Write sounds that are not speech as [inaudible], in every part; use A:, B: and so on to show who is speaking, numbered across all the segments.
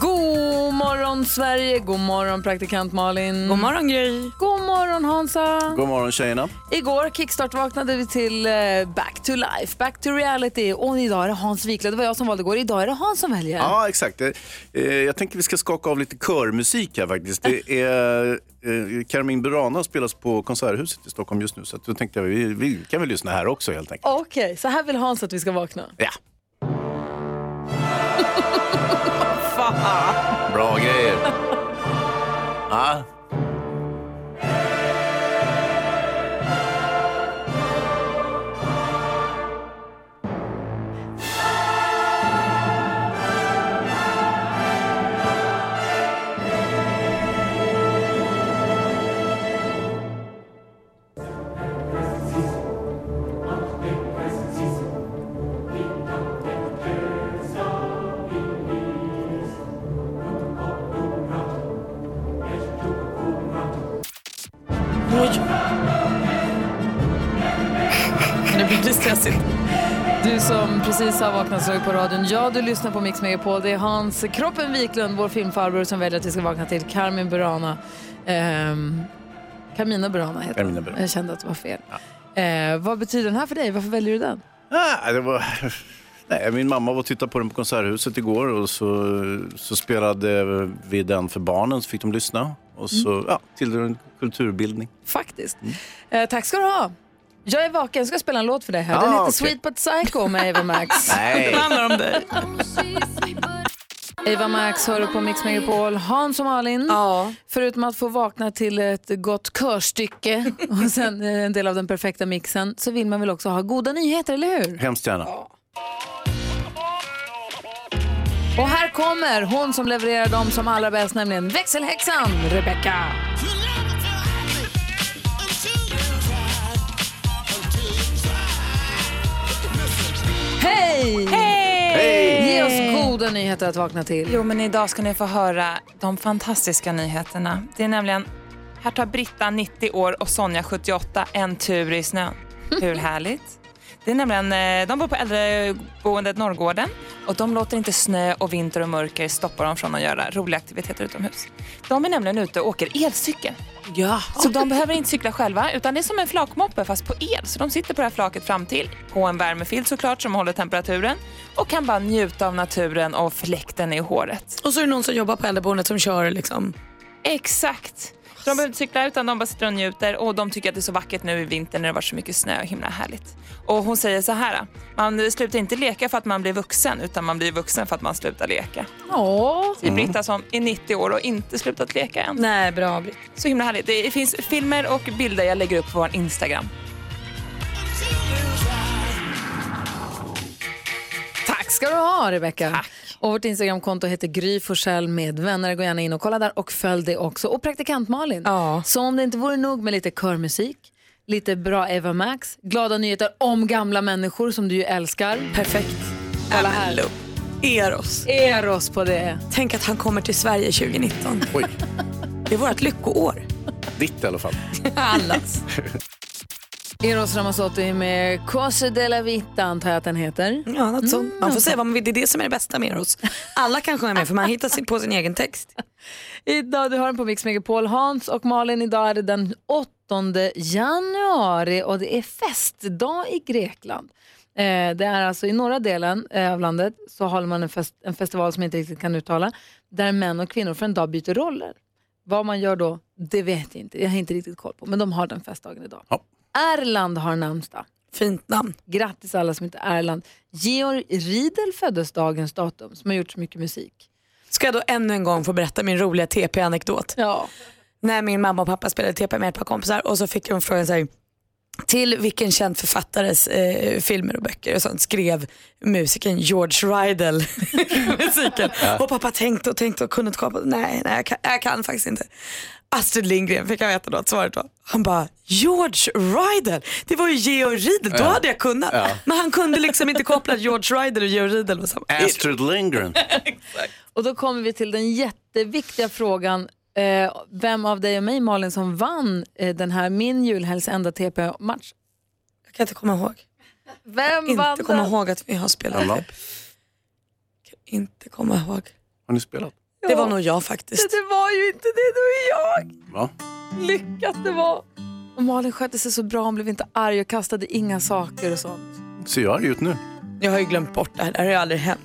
A: God morgon Sverige, god morgon praktikant Malin.
B: God morgon Gry.
A: God morgon Hansa.
C: God morgon tjejerna.
A: Igår kickstart-vaknade vi till eh, Back to life, Back to reality och idag är det Hans Wiklund. Det var jag som valde igår, idag är det Hans som väljer.
C: Ja, exakt. Eh, eh, Jag tänker vi ska skaka av lite körmusik här faktiskt. Det är, eh, Carmen Burana spelas på Konserthuset i Stockholm just nu så att då tänkte jag vi, vi kan väl lyssna här också helt enkelt.
A: Okej, så här vill Hans att vi ska vakna.
C: Ja,
A: [laughs] Fan.
C: bra
A: [laughs]
C: grejer. Ja.
B: Oj. Nu blir det stressigt.
A: Du som precis har vaknat slog på radion. Ja, du lyssnar på Mix Megapol. Det är Hans Kroppen Wiklund, vår filmfarbror, som väljer att vi ska vakna till Carmen Burana. Ehm, Carmina Burana heter
C: Carmina
A: hon.
C: Burana.
A: Jag kände att det var fel. Eh, vad betyder den här för dig? Varför väljer du den?
C: Ah, det var... [laughs] Nej, min mamma var och tittade på den på Konserthuset igår och så, så spelade vi den för barnen så fick de lyssna. Och så
D: Mm.
C: ja, tillhör en kulturbildning. Mm.
A: Faktiskt. Eh, tack ska du ha. Jag är vaken. Jag ska spela en låt för dig här. Den
C: Ah,
A: heter
C: okej.
A: Sweet But Psycho med Ava Max.
C: [laughs] Nej.
B: [laughs] Det handlar om dig.
A: Ava Max hör du på Mix Megapol. Hans och Malin.
B: Ja.
A: Förutom att få vakna till ett gott körstycke [laughs] och sen eh, en del av den perfekta mixen så vill man väl också ha goda nyheter, eller hur?
C: Hemskt gärna.
A: Och här kommer hon som levererar dem som allra bäst, nämligen växelhäxan Rebecca. Hej!
C: Hej!
A: Ge oss goda nyheter att vakna till.
B: Jo, men idag ska ni få höra de fantastiska nyheterna. Det är nämligen, här tar Britta 90 år och Sonja 78 en tur i snön. Hur härligt? Det är nämligen, eh, de bor på äldreboendet Norrgården och de låter inte snö och vinter och mörker stoppa dem från att göra roliga aktiviteter utomhus. De är nämligen ute och åker elcykel.
A: Ja.
B: Så de behöver inte cykla själva utan det är som en flakmoppe fast på el. Så de sitter på det här flaket fram till på en värmefilt såklart som håller temperaturen och kan bara njuta av naturen och fläkten i håret.
D: Och så är det någon som jobbar på äldreboendet som kör liksom.
B: Exakt. Så de behöver inte cykla utan de bara sitter och njuter och de tycker att det är så vackert nu i vinter när det var så mycket snö och himla härligt. Och hon säger så här, man slutar inte leka för att man blir vuxen utan man blir vuxen för att man slutar leka.
A: Åh.
B: Det är
D: Mm.
B: Britta som är 90 år och inte slutat leka än.
D: Nej, bra Britt.
B: Så himla härligt. Det finns filmer och bilder jag lägger upp på vår Instagram.
A: Tack ska du ha, Rebecca. Och vårt Instagramkonto heter Gry Forssell med vänner. Gå gärna in och kolla där och följ det också. Och praktikant Malin,
D: Ja.
A: som om det inte vore nog med lite körmusik, lite bra Eva Max, glada nyheter om gamla människor som du ju älskar.
D: Perfekt.
A: Kolla här.
D: Eros.
A: Eros på det.
D: Tänk att han kommer till Sverige
A: [laughs]
D: 2019.
C: Oj,
D: Det är vårt lyckoår.
C: [laughs] ditt i alla fall.
D: Allas.
A: Eros Ramazzotti med Cose della Vita, antar jag att den heter. Mm.
D: Ja, något sånt. Man får säga vad man vill. Det är det som är det bästa med Eros. Alla kan sjunga med för man hittar sig på sin egen text.
A: [laughs] Idag, du har den på Mix Megapol. Hans och Malin, idag är det den 8 januari och det är festdag i Grekland. Eh, det är alltså i norra delen eh, av landet så håller man en, fest, en festival som jag inte riktigt kan uttala, där män och kvinnor för en dag byter roller. Vad man gör då, det vet jag inte. Jag har inte riktigt koll på, men de har den festdagen idag.
C: Ja.
A: Erland har namnsdag.
D: Fint namn.
A: Grattis alla som heter Erland. Georg Riedel föddes dagens datum, som har gjort så mycket musik.
D: Ska jag då ännu en gång få berätta min roliga TP-anekdot?
A: Ja.
D: När min mamma och pappa spelade TP med ett par kompisar och så fick de frågan så här, till vilken känd författares eh, filmer och böcker och sånt skrev musikern George Rydell musiken. Och pappa tänkte och tänkte och kunde inte komma på, nej, nej jag, kan, jag kan faktiskt inte. Astrid Lindgren fick jag veta då att svaret var. Han bara, George Rydell, det var ju Georg Riedel, då hade jag kunnat. Men han kunde liksom inte koppla att George Rydell och Georg Riedel var samma.
C: Astrid
D: [laughs]
C: Lindgren.
A: Och då kommer vi till den jätteviktiga frågan. Eh, vem av dig och mig, Malin, som vann eh, den här Min julhelgs enda TP-match?
D: Jag kan inte komma ihåg.
A: Vem vann
D: inte komma
A: den?
D: ihåg att vi har spelat
C: Alla.
D: det. Kan Inte komma ihåg.
C: Har ni spelat?
D: Det var nog jag faktiskt.
A: Det var ju inte det, det var ju jag.
C: Va?
A: Lyckat det var. Och Malin skötte sig så bra, hon blev inte arg och kastade inga saker och sånt.
C: Ser jag arg ut nu?
D: Jag har ju glömt bort det här. Det här har ju aldrig hänt.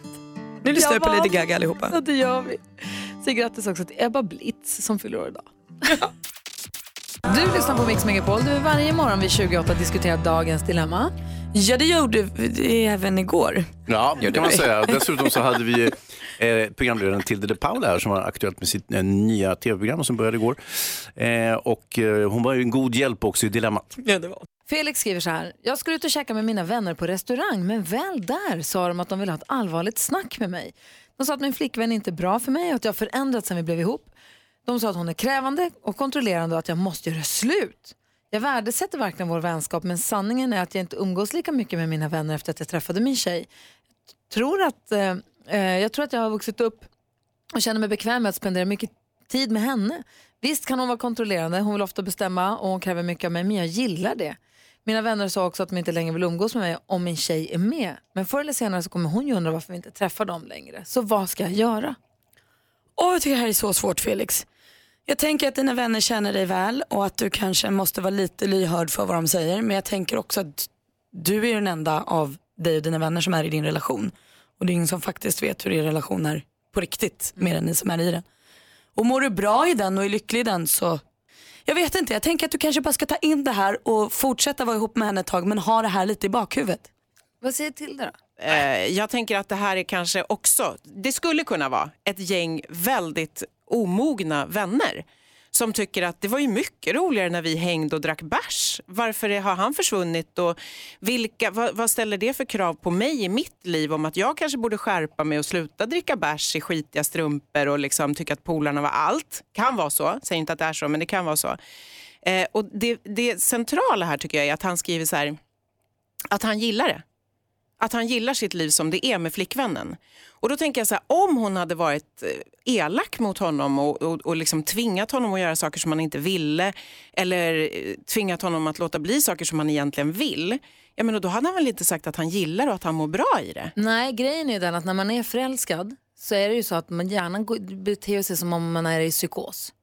D: Nu lyssnar
A: Jag
D: jag på
A: vann.
D: Lady Gaga allihopa.
A: Så det gör vi. Säg grattis också till Ebba Blitz som fyller år idag. Du lyssnar på Mix Megapol. Du är varje morgon vid 28 diskuterar dagens dilemma.
D: Ja, det gjorde vi det även igår.
C: Ja, det kan man [laughs] säga. Dessutom så hade vi eh, programledaren Tilde de Paula här som var aktuellt med sitt eh, nya tv-program som började igår. Eh, och eh, hon var ju en god hjälp också i dilemmat.
D: [laughs] Ja, det var.
A: Felix skriver så här. Jag skulle ut och käka med mina vänner på restaurang men väl där sa de att de ville ha ett allvarligt snack med mig. De sa att min flickvän inte är bra för mig och att jag har förändrats sen vi blev ihop. De sa att hon är krävande och kontrollerande och att jag måste göra slut. Jag värdesätter verkligen vår vänskap men sanningen är att jag inte umgås lika mycket med mina vänner efter att jag träffade min tjej. Tror att, eh, eh, jag tror att jag har vuxit upp och känner mig bekväm med att spendera mycket tid med henne. Visst kan hon vara kontrollerande, hon vill ofta bestämma och hon kräver mycket av mig, men jag gillar det. Mina vänner sa också att de inte längre vill umgås med mig om min tjej är med. Men förr eller senare så kommer hon ju undra varför vi inte träffar dem längre. Så vad ska jag göra?
D: Åh, jag tycker det här är så svårt Felix. Jag tänker att dina vänner känner dig väl och att du kanske måste vara lite lyhörd för vad de säger. Men jag tänker också att du är den enda av dig och dina vänner som är i din relation. Och det är ingen som faktiskt vet hur er relation är på riktigt, mer än ni som är i den. Och mår du bra i den och är lycklig i den så Jag vet inte, jag tänker att du kanske bara ska ta in det här och fortsätta vara ihop med henne ett tag men ha det här lite i bakhuvudet.
A: Vad säger till då?
E: Eh, jag tänker att det här är kanske också, det skulle kunna vara ett gäng väldigt omogna vänner som tycker att det var ju mycket roligare när vi hängde och drack bärs. Varför är- har han försvunnit och vilka, vad, vad ställer det för krav på mig i mitt liv om att jag kanske borde skärpa mig och sluta dricka bärs i skitiga strumpor och liksom tycka att polarna var allt. Kan vara så, säger inte att det är så men det kan vara så. Eh, och det, det centrala här tycker jag är att han skriver så här, att han gillar det att han gillar sitt liv som det är med flickvännen. Och då tänker jag så här, om hon hade varit eh, elak mot honom och, och, och liksom tvingat honom att göra saker som han inte ville eller eh, tvingat honom att låta bli saker som han egentligen vill, ja, men då hade han väl inte sagt att han gillar och att han mår bra i det.
A: Nej, grejen är ju den att när man är förälskad så är det ju så att man gärna går- beter sig som om man är i psykos.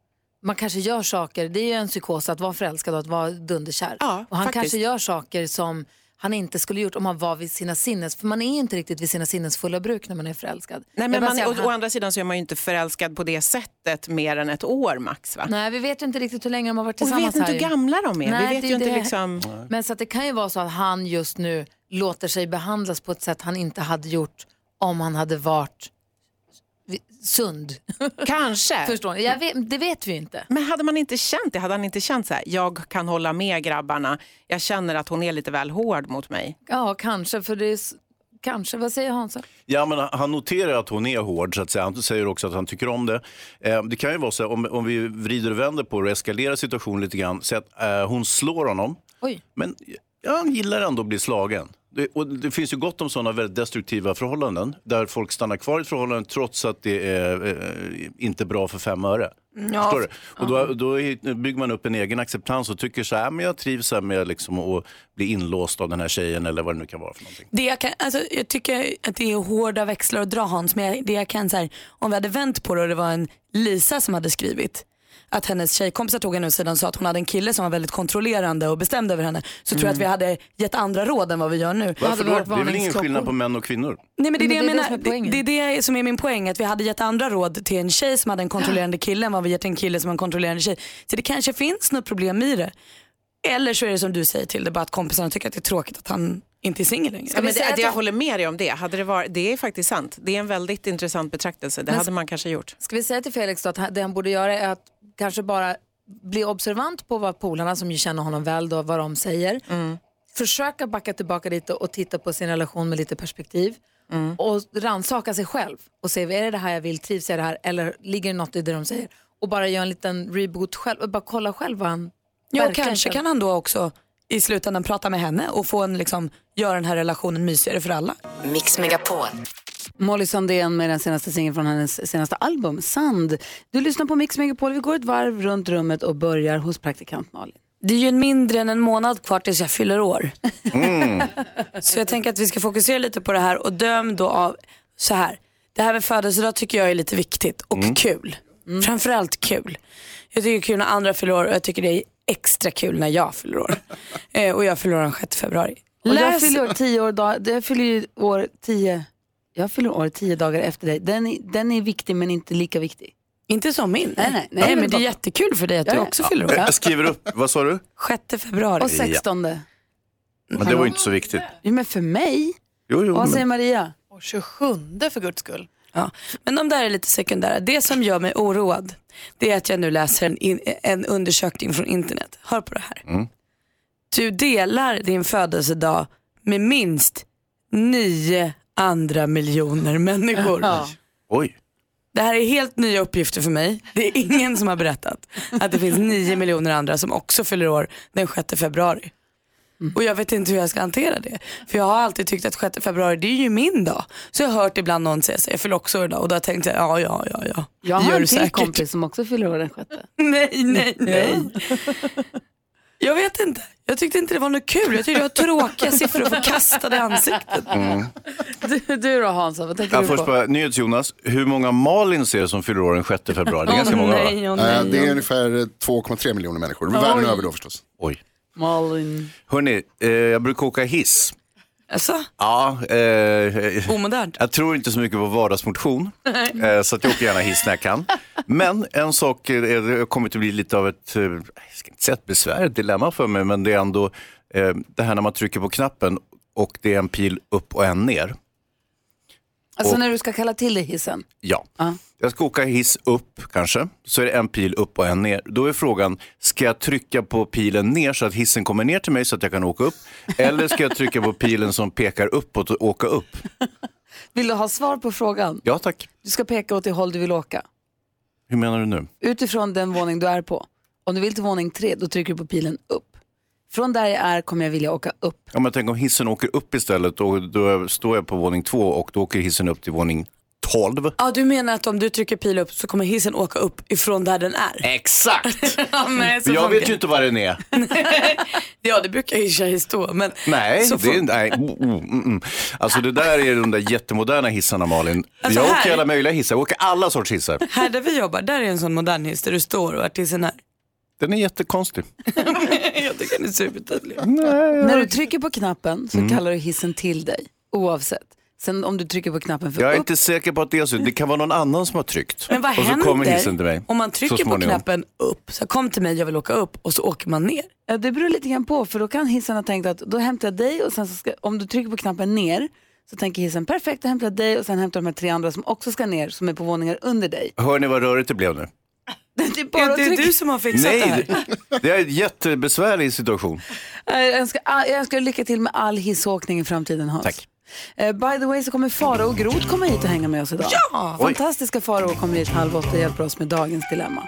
A: Man kanske gör saker, det är ju en psykos att vara förälskad och att vara dunderkär.
E: Ja,
A: och han
E: faktiskt.
A: kanske gör saker som han inte skulle gjort om han var vid sina sinnes... För man är ju inte riktigt vid sina sinnes fulla bruk när man är förälskad.
E: Nej,
A: Jag
E: men
A: bara
E: man,
A: säger att
E: och,
A: han-
E: å andra sidan så är man ju inte förälskad på det sättet mer än ett år max. Va?
A: Nej, vi vet ju inte riktigt hur länge de har varit
E: Och vi vet
A: tillsammans
E: inte
A: här
E: hur
A: ju.
E: gamla de är.
A: Nej,
E: vi vet
A: det är
E: ju inte
A: det.
E: liksom...
A: Men så att det kan ju vara så att han just nu låter sig behandlas på ett sätt han inte hade gjort om han hade varit vi- sund.
E: Kanske.
A: [laughs] Förstår ni? Jag vet, det vet vi ju inte.
E: Men hade man inte känt det, hade han inte känt så här, jag kan hålla med grabbarna, jag känner att hon är lite väl hård mot mig.
A: Ja, kanske. För det är, s- kanske. Vad säger Hansa?
C: Ja, men han noterar att hon är hård, så att säga. han säger också att han tycker om det. Eh, det kan ju vara så här, om, om vi vrider och vänder på det och eskalerar situationen lite grann, så att eh, hon slår honom,
A: Oj.
C: men ja, han gillar ändå att bli slagen. Det, och det finns ju gott om sådana väldigt destruktiva förhållanden, där folk stannar kvar i ett förhållande trots att det är eh, inte bra för fem öre. Förstår du? Och då, då är- bygger man upp en egen acceptans och tycker så här, men jag trivs här med liksom att bli inlåst av den här tjejen eller vad det nu kan vara för någonting.
D: Det jag, kan, alltså, jag tycker att det är hårda växlar att dra Hans, men jag, det jag kan så här, om vi hade vänt på det och det var en Lisa som hade skrivit att hennes tjejkompisar tog henne åt sidan och sa att hon hade en kille som var väldigt kontrollerande och bestämd över henne så tror jag att vi hade gett andra råd än vad vi gör nu.
C: Mm. Varför
A: hade
C: då?
A: varit
C: Det är väl ingen
A: varningsklockor.
C: skillnad på män och kvinnor?
D: Nej men det är det
A: Men
D: jag
A: det är det som
D: menar.
A: är poängen.
D: Det, det är det som är min poäng. Att vi hade gett andra råd till en tjej som hade en kontrollerande kille än vad vi gett en kille som har en kontrollerande tjej. Så det kanske finns något problem i det. Eller så är det som du säger till det bara att kompisarna tycker att det är tråkigt att han inte är singel längre.
E: Men
A: säga
E: det,
A: att
E: det, jag
A: jag-
E: håller med dig om det. Hade det, varit, det är faktiskt sant. Det är en väldigt intressant betraktelse. Det
A: Men-
E: hade man kanske gjort.
A: Ska vi säga till Felix då att han- det han borde göra är att kanske bara bli observant på vad polarna som ju känner honom väl då, vad de säger.
F: Mm.
A: Försöka backa tillbaka lite och titta på sin relation med lite perspektiv.
F: Mm.
A: Och rannsaka sig själv och se, är det det här jag vill, trivs jag i det här eller ligger det något i det de säger? Och bara göra en liten reboot själv och bara kolla själv vad han
D: Ja, och
A: verkligen
D: kanske
A: känner.
D: kan han då också i slutändan prata med henne och få en, liksom, göra den här relationen mysigare för alla.
G: Mix Megapol.
F: Molly Sandén med den senaste singeln från hennes senaste album, Sand. Du lyssnar på Mix Megapol. Vi går ett varv runt rummet och börjar hos praktikant Malin.
D: Det är ju mindre än en månad kvar tills jag fyller år. [laughs] så jag tänker att vi ska fokusera lite på det här och döm då av så här. Det här med födelsedag tycker jag är lite viktigt och kul.
A: Mm.
D: Framförallt kul. Jag tycker det är kul när andra fyller år och jag tycker det är extra kul när jag fyller
A: [laughs]
D: år. eh, och jag fyller år den 6 februari.
A: Och jag
D: Läs-
A: fyller år tio år, dag, jag fyller ju år tio, jag fyller år tio dagar efter dig. Den, är- den är viktig men inte lika viktig.
D: Inte som min.
A: Nej, nej, nej.
D: Nej, men det är jättekul för dig att du
A: Ja, ja.
D: också fyller år.
C: Jag skriver upp, vad sa du?
D: 6 februari.
A: Och sextonde.
C: Men det var ju inte så viktigt.
A: Jo, men för mig.
C: Jo, jo,
A: Vad
C: men-
A: säger Maria?
H: Och 27 för guds skull.
D: Ja. Men de där är lite sekundära. Det som gör mig oroad det är att jag nu läser en, in, en undersökning från internet. Hör på det här. Du delar din födelsedag med minst nio andra miljoner människor.
C: Oj.
D: Det här är helt nya uppgifter för mig. Det är ingen som har berättat att det finns nio miljoner andra som också fyller år den 6 februari.
A: Mm.
D: Och jag vet inte hur jag ska hantera det. För jag har alltid tyckt att 6 februari det är ju min dag. Så jag har hört ibland någon säga så här, jag fyller också år idag. Och då har jag tänkt så här, ja, ja, ja, ja.
A: Jag
D: Det
A: har
D: gör
A: en
D: du
A: till
D: säkert.
A: kompis som också fyller år den sjätte. [laughs]
D: Nej, nej, nej. Jag vet inte. Jag tyckte inte det var något kul. Jag tyckte det var tråkiga siffror förkastade i ansiktet.
C: Mm.
A: Du, du då Hansa, vad tänker
C: Ja,
A: du
C: först
A: på?
C: bara, NyhetsJonas, hur många Malin ser som fyller år den 6 februari? Det är ganska många va?
D: nej, åh,
I: Eh,
D: nej,
I: Det är
D: åh.
I: ungefär 2,3 miljoner människor. Världen över då förstås.
C: Oj.
A: Malin.
C: Hörni, eh, jag brukar åka hiss.
D: Alltså,
C: Ja, eh,
D: omodernt.
C: Jag tror inte så mycket på
D: [laughs]
C: vardagsmotion, eh, så att jag åker gärna hiss när jag kan. Men en sak är, det har kommit att bli lite av ett, eh, jag ska inte säga ett besvär, ett dilemma för mig, men det är ändå eh, det här när man trycker på knappen och det är en pil upp och en ner.
A: Alltså
C: Och-
A: när du ska kalla till dig hissen.
C: Ja.
A: Ja.
C: Jag ska åka hiss upp kanske, så är det en pil upp och en ner. Då är frågan, ska jag trycka på pilen ner så att hissen kommer ner till mig så att jag kan åka upp? Eller ska jag trycka på pilen som pekar uppåt och åka upp?
A: Vill du ha svar på frågan?
C: Ja tack.
A: Du ska peka åt det håll du vill åka.
C: Hur menar du nu?
A: Utifrån den våning du är på. Om du vill till våning tre, då trycker du på pilen upp. Från där jag är kommer jag vilja åka upp.
C: Ja, men tänk om hissen åker upp istället och då står jag på våning två och då åker hissen upp till våning 12.
D: Ja, du menar att om du trycker pil upp så kommer hissen åka upp ifrån där den är?
C: Exakt!
D: [laughs] Ja, nej, så
C: Jag
D: funkar
C: vet ju inte vad den är.
D: Ja, det brukar ju i och för sig stå. Men
C: Nej,
D: så
C: det är,
D: fun-
C: nej. Mm, mm, mm. Alltså det där är de där jättemoderna hissarna Malin.
D: Alltså,
C: jag
D: här-
C: åker alla möjliga hissar, jag åker alla sorts hissar.
D: Här där vi jobbar, där är en sån modern hiss där du står och artisten är.
C: Den är jättekonstig.
D: [laughs] Jag tycker den är supertydlig.
A: När du trycker på knappen
C: Mm.
A: så kallar du hissen till dig. Oavsett. Sen om du trycker på knappen för
C: Jag är
A: upp.
C: inte säker på att det är så. Det kan vara någon annan som har tryckt.
D: Men vad
C: och så kommer hissen till mig.
D: händer om man
C: så
D: trycker på
C: småningom.
D: knappen upp, så här, kom till mig, jag vill åka upp och så åker man ner.
A: Ja, det beror lite grann på för då kan hissen ha tänkt att då hämtar jag dig och sen så ska, om du trycker på knappen ner så tänker hissen perfekt, då hämtar jag dig och sen hämtar de här tre andra som också ska ner som är på våningar under dig. [laughs]
C: Hör ni vad rörigt det blev nu?
A: Det är bara
D: Är
A: att
D: det
A: trycka-
D: du som har fixat det
C: Nej,
D: här?
C: det- det är en jättebesvärlig situation.
A: Nej, Jag önskar, jag önskar lycka till med all hissåkning i framtiden Hans.
C: Tack.
A: Eh, By the way så kommer Faro och Groth komma hit och hänga med oss idag. Ja! Fantastiska Faro kommer hit halv åtta och hjälper oss med dagens dilemma.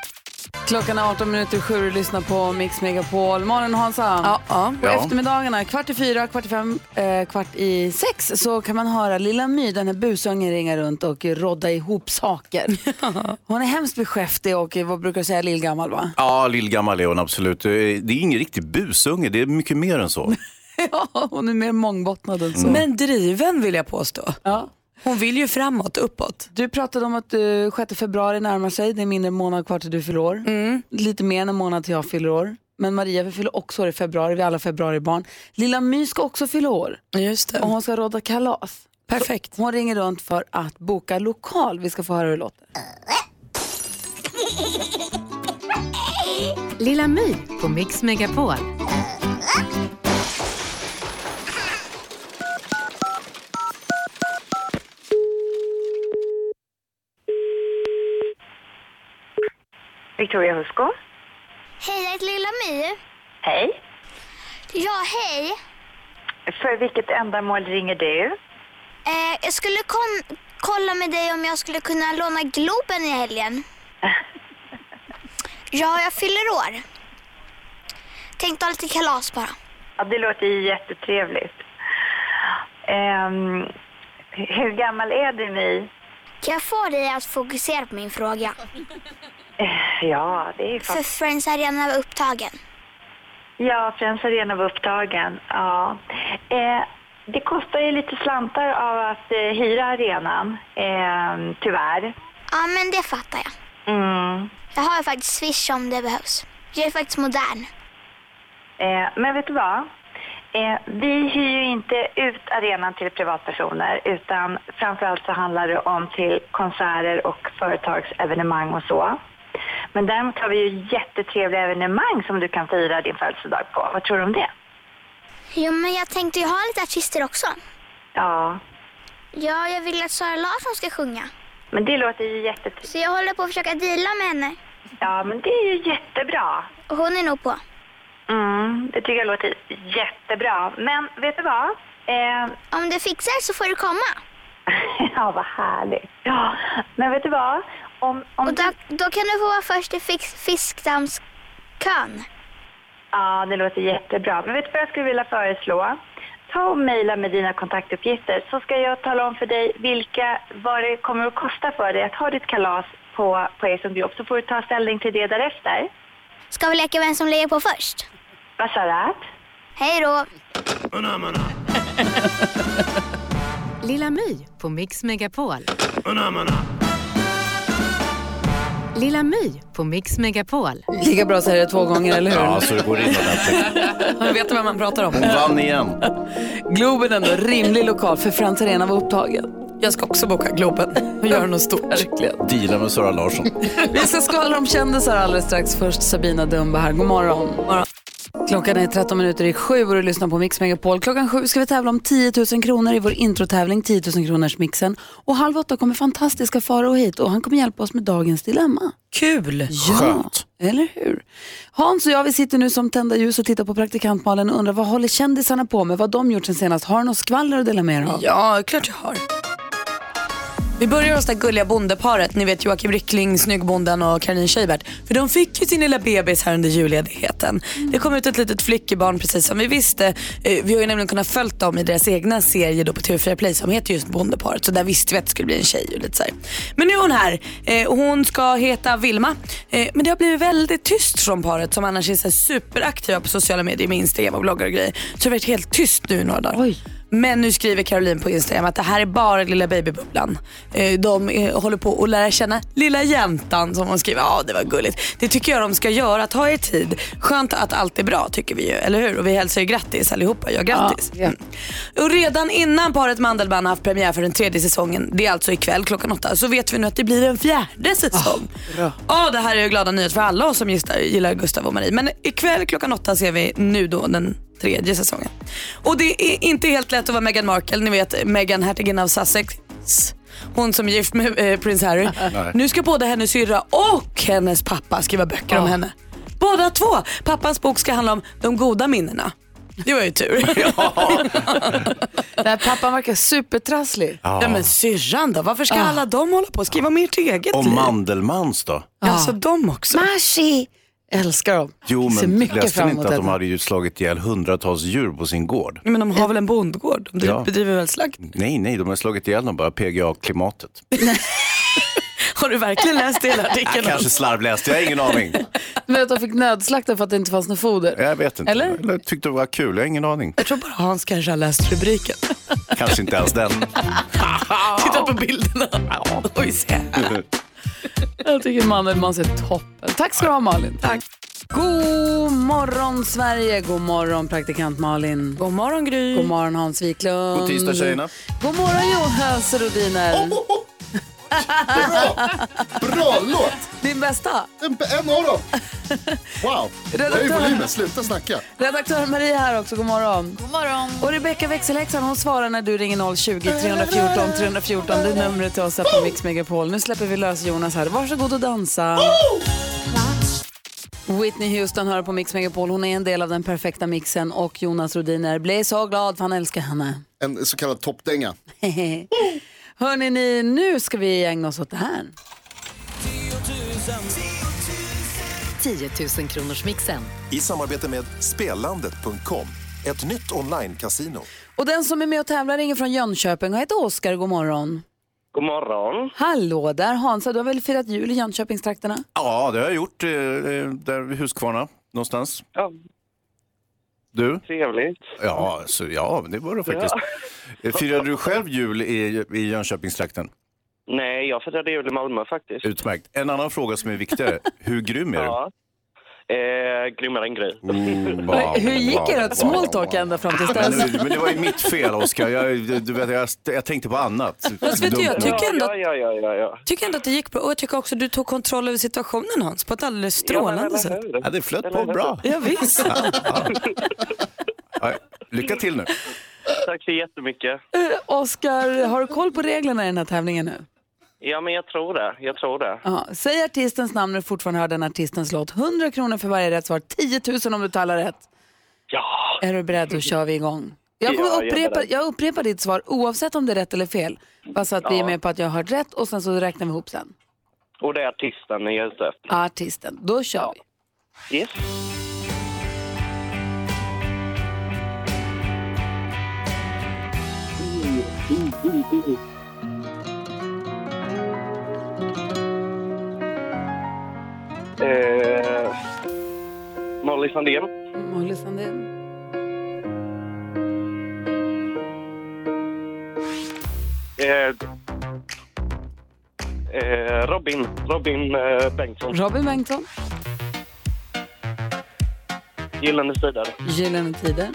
A: Klockan är 18 minuter i sju och lyssnar på Mix Megapol. Malin och Hansa.
D: Ja, ja.
A: På
C: Ja.
A: eftermiddagarna, kvart i fyra, kvart i fem, eh, kvart i sex så kan man höra Lilla My, den här busungen, ringa runt och rodda ihop [laughs] saker. Hon är hemskt beskäftig och eh, vad brukar du säga, lillgammal va?
C: Ja, lillgammal är hon absolut. Det är det är ingen riktig busunge, det är mycket mer än så.
A: [laughs] Ja, hon är mer mångbottnad än så.
D: Men driven vill jag påstå.
A: Ja.
D: Hon vill ju framåt, uppåt.
A: Du pratade om att eh, 6 februari närmar sig. Det är mindre än en månad kvar till du fyller år.
D: Mm.
A: Lite mer än en månad till jag fyller år. Men Maria vi fyller också år i februari. Vi är alla februaribarn. Lilla My ska också fylla år
D: Just
A: och
D: det.
A: hon ska rodda kalas.
D: Perfekt.
A: Hon ringer runt för att boka lokal. Vi ska få höra hur det låter.
J: Lilla My på Mix Megapol.
K: Victoria Husko.
L: Hej, jag heter Lilla My.
K: Hej.
L: Ja, hej.
K: För vilket ändamål ringer du?
L: Eh, jag skulle kon- kolla med dig om jag skulle kunna låna Globen i
K: [laughs]
L: helgen. Ja, jag fyller år. Tänkte ha lite kalas bara.
K: Ja, det låter ju jättetrevligt. Ehm, hur gammal är du, My?
L: Kan jag få dig att fokusera på min fråga?
K: Ja, det är
L: För
K: faktiskt...
L: Friends Arena var upptagen.
K: Ja, Friends Arena var upptagen. Ja. Eh, det kostar ju lite slantar av att eh, hyra arenan, eh, tyvärr.
L: Ja, men det fattar jag.
K: Mm.
L: Jag har faktiskt Swish om det behövs. Jag är faktiskt modern.
K: Eh, men vet du vad? Eh, vi hyr ju inte ut arenan till privatpersoner utan framförallt så handlar det om till konserter och företagsevenemang och så. Men däremot har vi ju jättetrevliga evenemang som du kan fira din födelsedag på. Vad tror du om det?
L: Jo, men jag tänkte ju ha lite artister också.
K: Ja,
L: Ja, jag vill att Sara Larsson ska sjunga.
K: men det låter ju jättetrevligt.
L: Så jag håller på att försöka deala med henne.
K: Ja, men det är ju jättebra.
L: Och hon är nog på.
K: Mm, det tycker jag låter jättebra. Men vet du vad? Eh,
L: Om du fixar så får du komma.
K: [laughs] ja, vad härligt. Ja, men vet du vad? Om, om
L: Och då, då kan du få vara först i fix, fiskdammskön.
K: Ja, det låter jättebra. Men vet du vad jag skulle vilja föreslå? Ta och mejla med dina kontaktuppgifter så ska jag tala om för dig vilka, vad det kommer att kosta för dig att ha ditt kalas på, på er som grupp. Så får du ta ställning till det därefter.
L: Ska vi leka vem som lägger på först?
K: Vad sa du?
L: Hej då!
J: Lilla My på Mix Megapol. Lilla My på Mix Megapol.
A: Lika bra att säga det två gånger, eller hur?
C: Ja, så det går in ordentligt.
A: Man [laughs] vet vad man pratar om.
C: Hon vann igen.
A: Globen ändå, rimlig lokal för Friends Arena var upptagen.
D: Jag ska också boka Globen och göra något stort.
C: Deala med Sara Larsson.
A: Vi ska skvallra om kändisar alldeles strax. Först Sabina Dumba här. God morgon. Klockan är 13 minuter i sju och du lyssnar på Mix Megapol. Klockan sju ska vi tävla om 10 000 kronor i vår introtävling 10 000 kronors mixen. Och halv åtta kommer fantastiska Farao hit och han kommer hjälpa oss med dagens dilemma.
D: Kul!
A: Ja, eller hur? Hans och jag vi sitter nu som tända ljus och tittar på praktikantmalen och undrar vad håller kändisarna på med? Vad har de gjort sen senast? Har du något skvaller att dela med er av?
D: Ja, klart jag har. Vi börjar hos det gulliga bondeparet, ni vet Joakim Rickling, Snyggbonden och Karin Scheibert. För de fick ju sin lilla bebis här under julledigheten. Det kom ut ett litet flickebarn precis som vi visste. Eh, Vi har ju nämligen kunnat följa dem i deras egna serie då på TV4 Play som heter just Bondeparet. Så där visste vi att det skulle bli en tjej. Och lite så här. Men nu är hon här eh, och hon ska heta Vilma. Eh, Men det har blivit väldigt tyst från paret som annars är så här superaktiva på sociala medier med Instagram och bloggar och grejer. Så det har varit helt tyst nu i några dagar. Men nu skriver Caroline på Instagram att det här är bara lilla babybubblan. Eh, De eh, håller på att lära känna lilla jäntan som hon skriver. Ja, det var gulligt. Det tycker jag de ska göra. Ta er tid. Skönt att allt är bra tycker vi ju, eller hur? Och vi hälsar ju grattis allihopa. Ja, grattis. Mm. Och redan innan paret Mandelmann har haft premiär för den tredje säsongen, det är alltså ikväll klockan åtta, så vet vi nu att det blir en fjärde säsong. Ja, det här är ju glada nyheter för alla oss som gillar, gillar Gustav och Marie. Men ikväll klockan åtta ser vi nu då den tredje säsongen. Och det är inte helt lätt att vara Meghan Markle, ni vet Meghan hertigen av Sussex. Hon som är gift med eh, prins Harry.
M: Nej.
D: nu ska både hennes syrra och hennes pappa skriva böcker om henne. Båda två! Pappans bok ska handla om de goda minnena. Det var ju tur.
A: Den här pappan verkar supertrasslig. Ah.
C: Ja.
D: Ja, men syrran då? Varför ska alla de hålla på och skriva om ert eget
C: Och
D: liv?
C: Mandelmans då?
D: Alltså de också.
A: Mashi! Älskar dem.
C: Jo,
A: Ser
C: men
A: mycket
C: läste
A: fram
C: ni
A: emot
C: inte att de
A: detta.
C: hade ju slagit ihjäl hundratals djur på sin gård?
D: Men de har väl en bondgård? De
C: Ja. Mm.
D: bedriver väl slakt?
C: Nej, nej, de har slagit ihjäl dem bara. PGA-klimatet.
D: Har du verkligen läst hela
A: [laughs]
D: artikeln?
C: Kanske slarvläst, jag har ingen aning.
A: Men att de fick nödslakta för att det inte fanns något foder.
C: Jag vet inte.
A: Eller?
C: Eller tyckte det var kul, jag har ingen aning.
D: Jag tror bara Hans kanske har läst rubriken.
C: Kanske inte ens den.
D: [laughs] Titta på bilderna. Oj, se.
A: Jag tycker Mandelmann ser toppen. Tack ska du ha Malin. Tack. God morgon Sverige, god morgon praktikant Malin.
D: God morgon Gry.
A: God morgon Hans Wiklund.
C: God tisdag, tjejerna.
A: God morgon Jonas Rhodiner.
I: Bra låt!
A: Din bästa?
I: En, en av
N: [laughs]
I: dem! Wow! Höj
A: Redaktör-
I: volymen, sluta snacka.
A: Redaktör Maria här också, god morgon.
H: God morgon.
A: Och Rebecka växelhäxan hon svarar när du ringer 020 314 314. Det är numret till oss här på Mix Megapol. Nu släpper vi lös Jonas här. Varsågod och dansa. Whitney Houston hör på Mix Megapol. Hon är en del av den perfekta mixen och Jonas Rhodiner blir så glad för han älskar henne. [laughs]
I: En så kallad toppdänga.
A: Hörni, ni, nu ska vi ägna oss åt det här.
J: 10 000 kronors mixen.
O: I samarbete med Spelandet.com, ett nytt online-casino.
A: Och den som är med och tävlar ringer från Jönköping och heter Oskar. God morgon.
C: Mm.
P: God morgon.
A: Hallå där Hansa, du har väl firat jul i Jönköpingstrakterna?
C: Ja, det har jag gjort. Eh, eh, där vid Huskvarna, någonstans.
P: Ja.
C: Du?
M: Trevligt.
C: Ja, så, ja men det var det faktiskt. Eh, Firade du själv jul i, i Jönköpingstrakten?
M: Nej, jag firade jul i Malmö faktiskt.
C: Utmärkt. En annan fråga som är viktigare. Hur grym är du? Mm,
M: Ja. Mm, Eh, grymmare än Gry.
A: Men Hur gick ert small talk ända fram till
C: Men,
A: dess?
C: nu- men det var ju mitt fel, Oskar. Jag, du vet, jag, jag tänkte på annat.
D: Fast vet du, jag tycker ändå-
M: Ja, ja, ja, ja, ja.
D: tycker ändå att det gick bra och jag tycker också att du tog kontroll över situationen Hans på ett alldeles strålande sätt.
C: Ja, det flöt på bra.
D: Ja, visst. [laughs]
C: Ja, ja. Ja, Lycka till nu.
M: Tack så jättemycket.
A: [laughs] Eh, Oskar, har du koll på reglerna i den här tävlingen nu?
M: Ja, men jag tror det. Jag tror det.
A: Ja, säg artistens namn när du fortfarande hör den artistens låt. 100 kronor för varje rätt svar, 10 000 om du talar rätt.
M: Ja!
A: Är du beredd, då kör vi igång. Jag,
Q: Ja,
A: kommer
Q: jag är
A: upprepa,
Q: beredd.
A: jag upprepar ditt svar oavsett om det är rätt eller fel. Bara så att vi är med på att jag har hört rätt och sen så räknar vi ihop sen.
M: Och det är artisten ni är ute efter.
A: Artisten, då kör vi.
M: Yes. Eh, Molly Sandén.
A: Molly Sandén.
M: Eh, eh, Robin. Robin eh, Bengtsson.
A: Robin Bengtsson,
M: Gyllene Tider.
A: Gyllene Tider.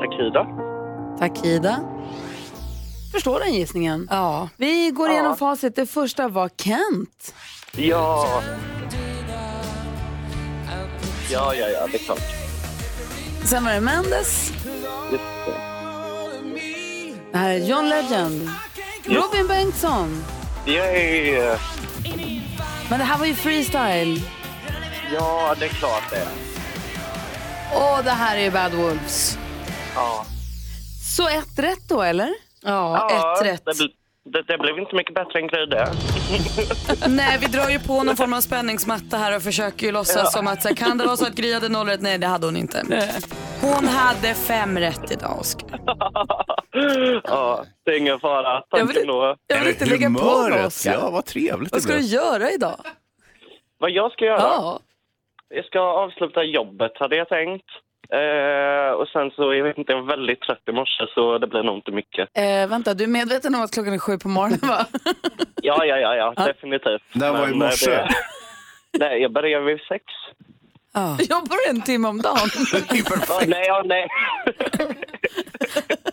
M: Takida.
A: Takida. Förstår den gissningen? Ja. Vi går igenom facit. Det första var Kent.
M: Ja. Ja, ja, ja, det är klart.
A: Sen var det Mendes.
M: Just det.
A: Det här är John Legend.
M: Yes.
A: Robin Bengtsson.
M: Yay! eh,
A: Men det här var ju freestyle.
M: Ja, det är klart det.
A: Och det här är ju Bad Wolves.
M: Ja.
A: Så ett rätt då, eller? Ja, ett rätt.
M: Det, bl- det, det blev inte mycket bättre än
C: [laughs]
M: Gry det.
D: Nej, vi drar ju på någon form av spänningsmatta här och försöker ju låtsas
M: Ja.
D: som att så här, kan det vara så att Gry hade noll rätt? Nej, det hade hon inte. Hon hade fem rätt idag, Oskar.
M: ja, det är ingen fara. Tack ändå.
A: Jag vill inte lägga på
C: humöret,
A: Oskar.
C: alltså. ja, vad trevligt
A: Vad
C: det
A: ska du
C: blev.
A: göra idag?
M: Vad jag ska göra?
A: Ja.
M: Jag ska avsluta jobbet, hade jag tänkt. Eh, och sen så, jag vet inte, jag var väldigt trött i morse så det blir nog inte mycket.
A: Eh, vänta, du är medveten om att klockan är sju på morgonen, va?
M: Ja, ja, ja, ja definitivt.
C: När var i
M: Men, eh,
C: morse?
M: det- [laughs] Nej, jag började vid
C: [laughs]
M: sex.
A: [laughs] Jag bor en timme om [laughs] dagen.
M: Ja, nej, ja, nej.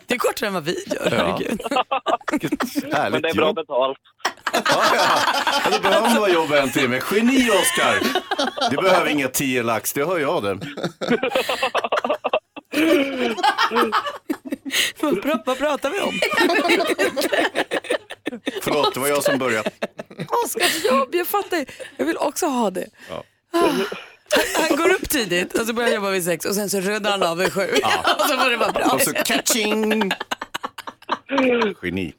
D: Det är kortare än vad vi gör,
C: Ja.
D: herregud.
M: Men det är bra betalt.
C: Ja, du [laughs] behöver man vara jobb en timme. Geni, Oskar!
A: [laughs]
C: Du behöver inga tio lax, det hör jag det.
D: [laughs] Vad, bra, vad pratar vi om?
C: Förlåt, det var jag som
A: [laughs]
C: började.
D: Oskars jobb, jag fattar. Jag vill också ha det.
C: Ja.
D: Han går upp tidigt och så börjar han jobba vid sex och sen så rullar han av vid sju.
C: Ja.
D: [laughs] Och så får det vara bra.
C: Och så catching! Geni.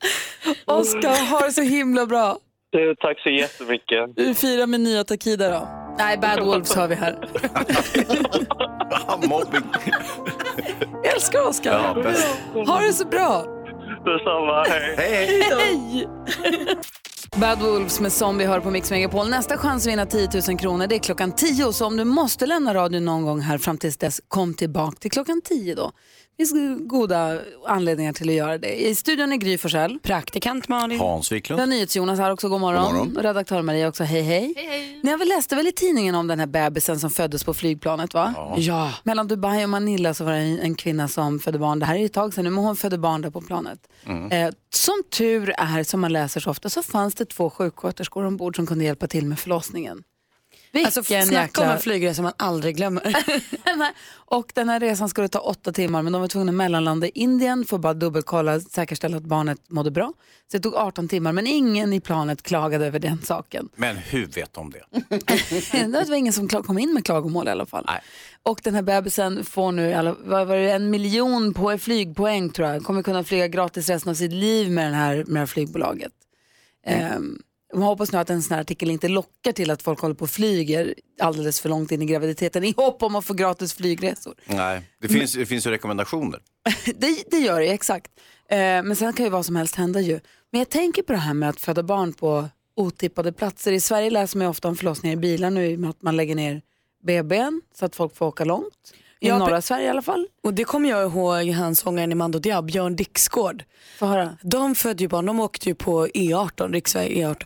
A: Oskar, ha det så himla bra.
M: Du, tack så jättemycket.
A: Du firar med nya Takida då. Nej, Bad Wolves har vi här.
C: Mobbing.
A: Jag älskar Oskar.
C: Ja, bäst.
A: ha det så bra.
M: Detsamma, hej.
A: Hej! Bad Wolves med Zombie hör på Mix Megapol. Nästa chans att vinna 10 000 kronor det är klockan 10. Så om du måste lämna radion någon gång här fram tills dess, kom tillbaka till klockan 10 då. Det finns goda anledningar till att göra det. I studion är Gry Forssell.
D: Praktikant Malin.
C: Hans
A: Vi har
C: Wiklund.
A: NyhetsJonas här också, god morgon.
C: God morgon.
A: Och redaktör Maria också, hej hej.
R: Hej, hej.
A: Ni har väl läste väl i tidningen om den här bebisen som föddes på flygplanet va?
R: Ja.
A: Mellan Dubai och Manila så var det en en kvinna som födde barn. Det här är ju ett tag sedan nu, men hon födde barn där på planet. Eh, som tur är, som man läser så ofta, så fanns det två sjuksköterskor ombord som kunde hjälpa till med förlossningen.
D: Alltså, snacka om en flygresa man aldrig glömmer.
A: [laughs] Nej, och den här resan skulle ta åtta timmar men de var tvungna att mellanlanda i Indien för att bara dubbelkolla, säkerställa att barnet mådde bra. Så det tog 18 timmar men ingen i planet klagade över den saken.
C: Men hur vet de det?
A: [laughs] det var ingen som kla- kom in med klagomål i alla fall. Och den här bebisen får nu alla, vad var det, en miljon på flygpoäng tror jag. Kommer kunna flyga gratis resten av sitt liv med, den här, med det här flygbolaget. Ehm, man hoppas nu att en sån här artikel inte lockar till att folk håller på och flyger alldeles för långt in i graviditeten i hopp om att få gratis flygresor.
C: Nej, det finns, det finns ju rekommendationer.
A: det, det gör det, exakt. Eh, men sen kan ju vad som helst hända ju. Men jag tänker på det här med att föda barn på otippade platser. I Sverige läser man ju ofta om förlossningar i bilar nu i och med att man lägger ner BB'n så att folk får åka långt. I
D: Ja,
A: norra
D: pe-
A: Sverige i alla fall.
D: Och det kommer jag ihåg han sångaren i Mando Diab, Björn Dixgård. De födde ju barn, de åkte ju på E18, riksväg E18.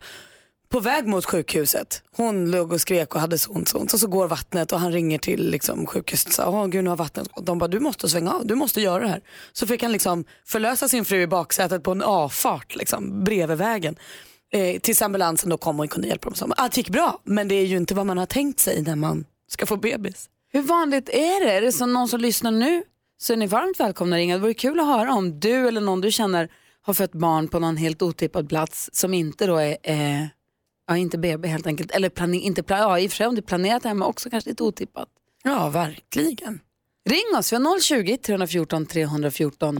D: På väg mot sjukhuset. Hon låg och skrek och hade så ont, så ont. Och så går vattnet och han ringer till liksom, sjukhuset och säger, åh gud nu har vattnet gått. De bara, du måste svänga av, du måste göra det här. Så fick han liksom förlösa sin fru i baksätet på en avfart liksom, bredvid vägen. Eh, tills ambulansen då kom och kunde hjälpa dem. Så, Allt gick bra, men det är ju inte vad man har tänkt sig när man ska få bebis.
A: Hur vanligt är det? Är det som någon som lyssnar nu så är ni varmt välkomna att ringa. Det vore kul att höra om du eller någon du känner har fött barn på någon helt otippad plats som inte då är, eh, ja inte BB helt enkelt, eller plane, inte, pla- ja i och för sig om det är planerat hemma också kanske lite otippat.
D: Ja, verkligen.
A: Ring oss, vi har 020 314 314.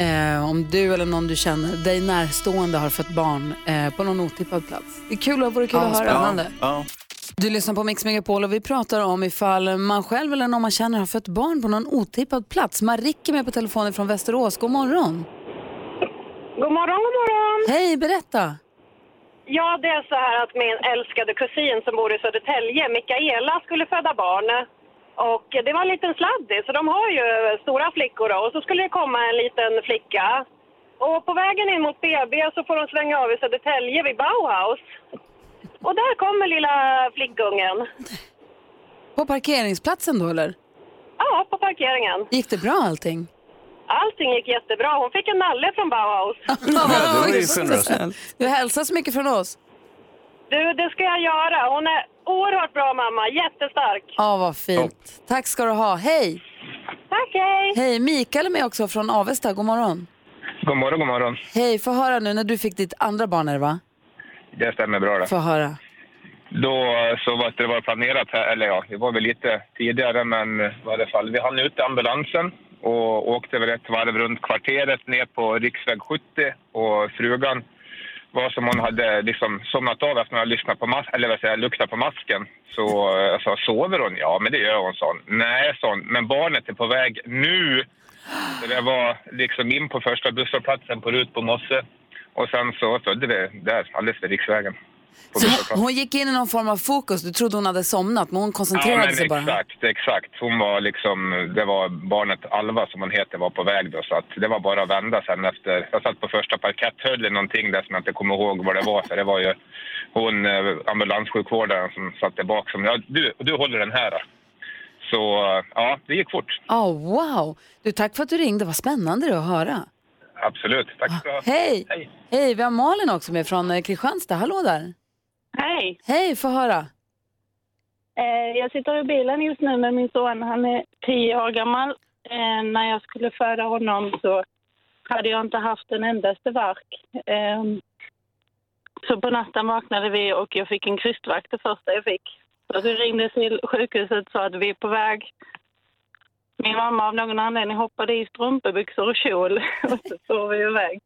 A: Eh, om du eller någon du känner, dig närstående har fött barn eh, på någon otippad plats. Det är kul och vore kul
D: Ja,
A: att höra.
D: spännande.
C: Ja.
A: Du lyssnar på Mix Megapol och vi pratar om ifall man själv eller någon man känner har fött barn på någon otippad plats. Marike är med på telefonen från Västerås. God morgon.
P: God morgon, god morgon!
A: Hej, berätta.
P: Ja, det är så här att min älskade kusin som bor i Södertälje, Mikaela, skulle föda barn. Och det var en liten sladdis, så de har ju stora flickor då. Och så skulle det komma en liten flicka. Och på vägen in mot BB så får de svänga av i Södertälje vid Bauhaus. Och där kommer lilla flickungen.
A: På parkeringsplatsen då eller?
P: Ja, på parkeringen.
A: Gick det bra allting?
P: Allting gick jättebra. Hon fick en nalle från Bauhaus.
C: det var ju generöst.
A: Du hälsar så mycket från oss.
P: Du, det ska jag göra. Hon är oerhört bra mamma, jättestark.
A: Ja, vad fint. Tack ska du ha. Hej.
P: Tack, hej.
A: Hej, Mikael är med också från Avesta. God morgon.
S: God morgon, god morgon.
A: Hej, få höra nu när du fick ditt andra barn är det va?
S: Det stämmer bra det.
A: Få höra.
S: Då eh, så var det var planerat här, eller ja, det var väl lite tidigare men eh, i alla fall. Vi hann ut i ambulansen och åkte väl ett varv runt kvarteret ner på riksväg 70 och frugan var som hon hade liksom somnat av efter att ha lyssnat på mas- eller vad säger jag, luktat på masken. Så eh, jag sa, sover hon? Ja, men det gör hon, sa hon. Nej, sa hon, men barnet är på väg nu. Så det var liksom in på första busshållplatsen på Rut på Mosse och sen så födde vi där, alldeles vid riksvägen. På busshållplatsen.
A: Hon gick in i någon form av fokus. Du trodde hon hade somnat men hon koncentrerade sig bara.
S: Exakt, exakt. Hon var liksom, det var barnet Alva som hon heter var på väg då så att det var bara att vända sen efter. Jag satt på första parketthöljen någonting där som jag inte kommer ihåg vad det var för det var ju hon eh, ambulanssjukvårdaren som satt där bak som, ja du, du håller den här. då." Så eh, ja, det gick fort.
A: Ja, Ah, wow. Du, tack för att du ringde. Vad spännande det att höra.
S: Absolut. Tack ska du ha.
A: Ah, Hej! Hej, vi har Malin också med från eh, Kristianstad. Hallå där!
Q: Hej!
A: Hej, få höra.
Q: Eh, Jag sitter i bilen just nu med min son. Han är tio år gammal. Eh, När jag skulle föda honom så hade jag inte haft en endaste värk. Ehm, Så på natten vaknade vi och jag fick en krystvakt det första jag fick. Så vi ringde till sjukhuset och sa att vi är på väg. Min mamma av någon anledning hoppade i strumpebyxor och kjol [laughs] och så for vi iväg.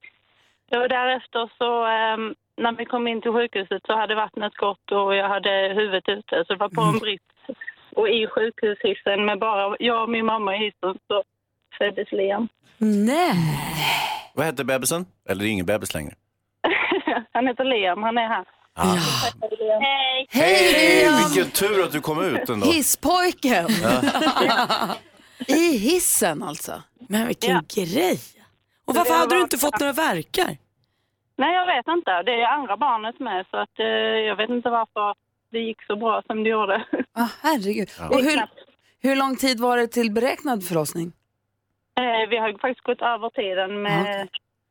Q: Det var därefter så ehm, när vi kom in till sjukhuset så hade vattnet gått och jag hade huvudet ute så det var på en brits. Och i sjukhushissen med bara jag och min mamma i hissen så föddes Liam. [laughs]
A: Nej!
C: Vad hette bebisen? Eller det är ingen bebis längre.
Q: Han heter Liam, han är här. Hej!
C: Vilken tur att du kom ut ändå.
A: Hisspojken!
C: Ja.
A: [laughs] I hissen alltså.
D: Men vilken grej. Och varför hade du inte fått några verkar?
Q: Nej, jag vet inte. Det är andra barnet med så att, eh, jag vet inte varför det gick så bra som det gjorde. [laughs]
A: Ah, herregud.
Q: Ja.
A: Och hur, hur lång tid var det till beräknad förlossning?
Q: Eh, vi har ju faktiskt gått över tiden med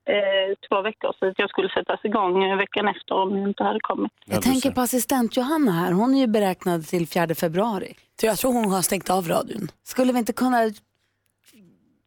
Q: eh, två veckor så att jag skulle sättas igång eh, veckan efter om jag inte hade kommit.
A: Jag tänker på assistent Johanna här. Hon är ju beräknad till 4 februari.
D: Jag tror hon har stängt av radion.
A: Skulle vi inte kunna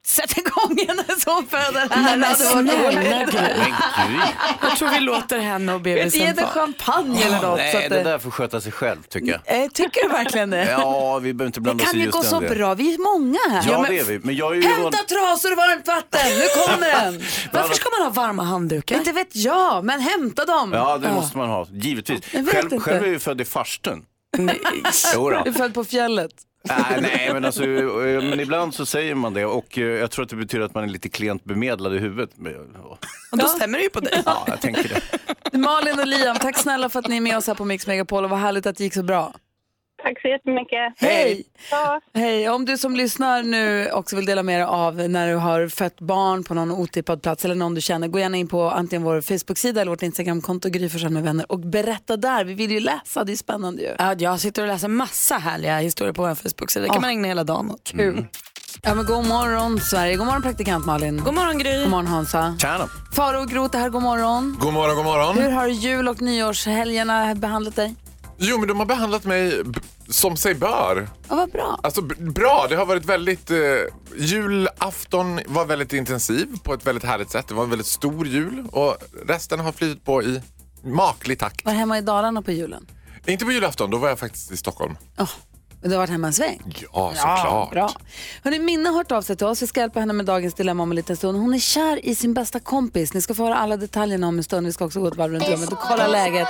A: sätta igång henne som föder här?
D: Nej, men
A: Det hade varit
D: snälla
A: roligt.
D: Jag tror vi låter henne och
A: Ge
D: bebisen
A: henne champagne eller något. så
C: Ah, Nej,
A: att
C: det
A: det-
C: där får sköta sig själv tycker jag.
A: Eh, Tycker du verkligen det?
C: Ja, vi behöver inte
A: Det
C: blanda oss
A: kan
C: i
A: ju
C: just
A: gå
C: den
A: så
C: delen.
A: bra, vi är många här.
C: Ja, det är vi. Men jag är ju
A: Hämta trasor och varmt vatten, nu
C: [laughs]
A: kommer den.
D: Varför ska man ha varma handdukar?
A: Inte vet jag, men hämta dem.
C: Ja, det måste man ha. Givetvis.
A: Jag vet
C: Själv,
A: inte.
C: själv är jag ju född i farstun.
D: Nej.
C: [laughs]
A: [laughs]
C: Jo då.
A: Du är född på fjället.
C: Nej, nej, men alltså, eh, men ibland så säger man det och eh, jag tror att det betyder att man är lite klent bemedlad i huvudet. Men, ja,
D: Och då stämmer det ju på dig.
C: Ja, jag tänker det.
A: Malin och Liam, tack snälla för att ni är med oss här på Mix Megapol och vad härligt att det gick så bra.
Q: Tack så jättemycket.
A: Hej! Hej! Om du som lyssnar nu också vill dela med dig av när du har fött barn på någon otippad plats eller någon du känner, gå gärna in på antingen vår Facebook-sida eller vårt Instagram-konto Gry Forssell med vänner och berätta där. Vi vill ju läsa, det är spännande ju.
D: Ja, jag sitter och läser massa härliga historier på vår Facebook-sida. Det kan
A: Ja.
D: man ägna hela dagen åt.
A: Kul. Ja, men god morgon Sverige, god morgon praktikant Malin.
D: God morgon Gry.
A: God morgon Hansa.
N: Tjena.
A: Faro och Groth är här, god morgon.
N: God morgon, god morgon.
A: Hur har jul och nyårshelgerna behandlat dig?
N: Jo, men de har behandlat mig b- som sig bör.
A: Ja, vad bra.
N: Alltså b- bra, det har varit väldigt... Eh, julafton var väldigt intensiv på ett väldigt härligt sätt. Det var en väldigt stor jul och resten har flyttat på i maklig takt.
A: Var hemma i Dalarna på julen?
N: Inte på julafton, då var jag faktiskt i Stockholm.
A: Du har varit hemma en sväng?
N: Ja, såklart.
A: bra. Hörrni, Minna har hört av sig till oss. Vi ska hjälpa henne med dagens dilemma om en liten stund. Hon är kär i sin bästa kompis. Ni ska få höra alla detaljerna om en stund. Vi ska också gå ett varv runt rummet och kolla läget.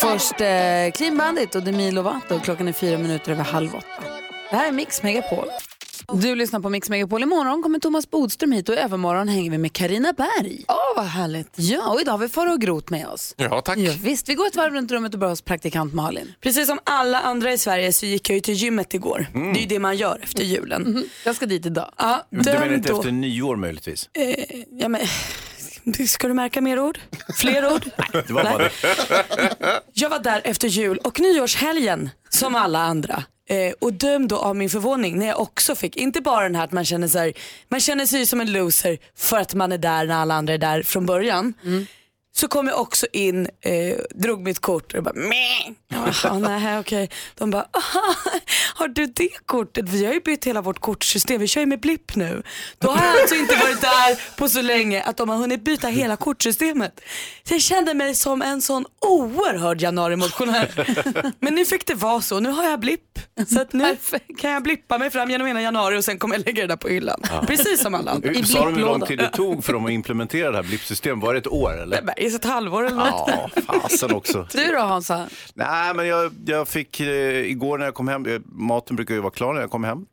A: Först eh, Clean Bandit och Demi Lovato. Klockan är fyra minuter över halv åtta. Det här är Mix Megapol. Du lyssnar på Mix Megapol. Imorgon kommer Thomas Bodström hit och i övermorgon hänger vi med Karina Berg. Åh, vad härligt. Ja, och idag har vi Farao Groth med oss.
N: Ja, tack.
A: Ja, visst, vi går ett varv runt rummet och börjar hos praktikant Malin.
D: Precis som alla andra i Sverige så gick jag ju till gymmet igår. Det är ju det man gör efter julen.
A: Jag ska dit idag.
D: Ja,
C: Du menar
D: döm
C: inte
D: då.
C: efter nyår möjligtvis?
D: Eh, ja, men, ska du märka mer ord? Fler ord?
C: Det var bara det.
D: Jag var där efter jul och nyårshelgen som alla andra. Eh, och döm då av min förvåning när jag också fick, inte bara den här att man känner sig, man känner sig som en loser för att man är där när alla andra är där från början. Så kom jag också in, eh, drog mitt kort och bara meh. Jaha, nej okej. De bara, aha, har du det kortet? Vi har ju bytt hela vårt kortsystem, vi kör ju med blipp nu. Då har jag alltså inte varit där på så länge att de har hunnit byta hela kortsystemet. Så jag kände mig som en sån oerhörd januarimotionär. Men nu fick det vara så, nu har jag blipp. Så att nu kan jag blippa mig fram genom hela januari och sen kommer jag lägga det där på hyllan. Precis som alla andra.
C: Eh, Sa de hur lång tid det tog för dem att implementera det här blippsystemet? Var det ett år eller?
D: I ett halvår eller något.
C: Ja, fasen också.
A: Du då Hansa?
C: Nej, men jag, jag fick eh, igår när jag kom hem, eh, maten brukar ju vara klar när jag kommer hem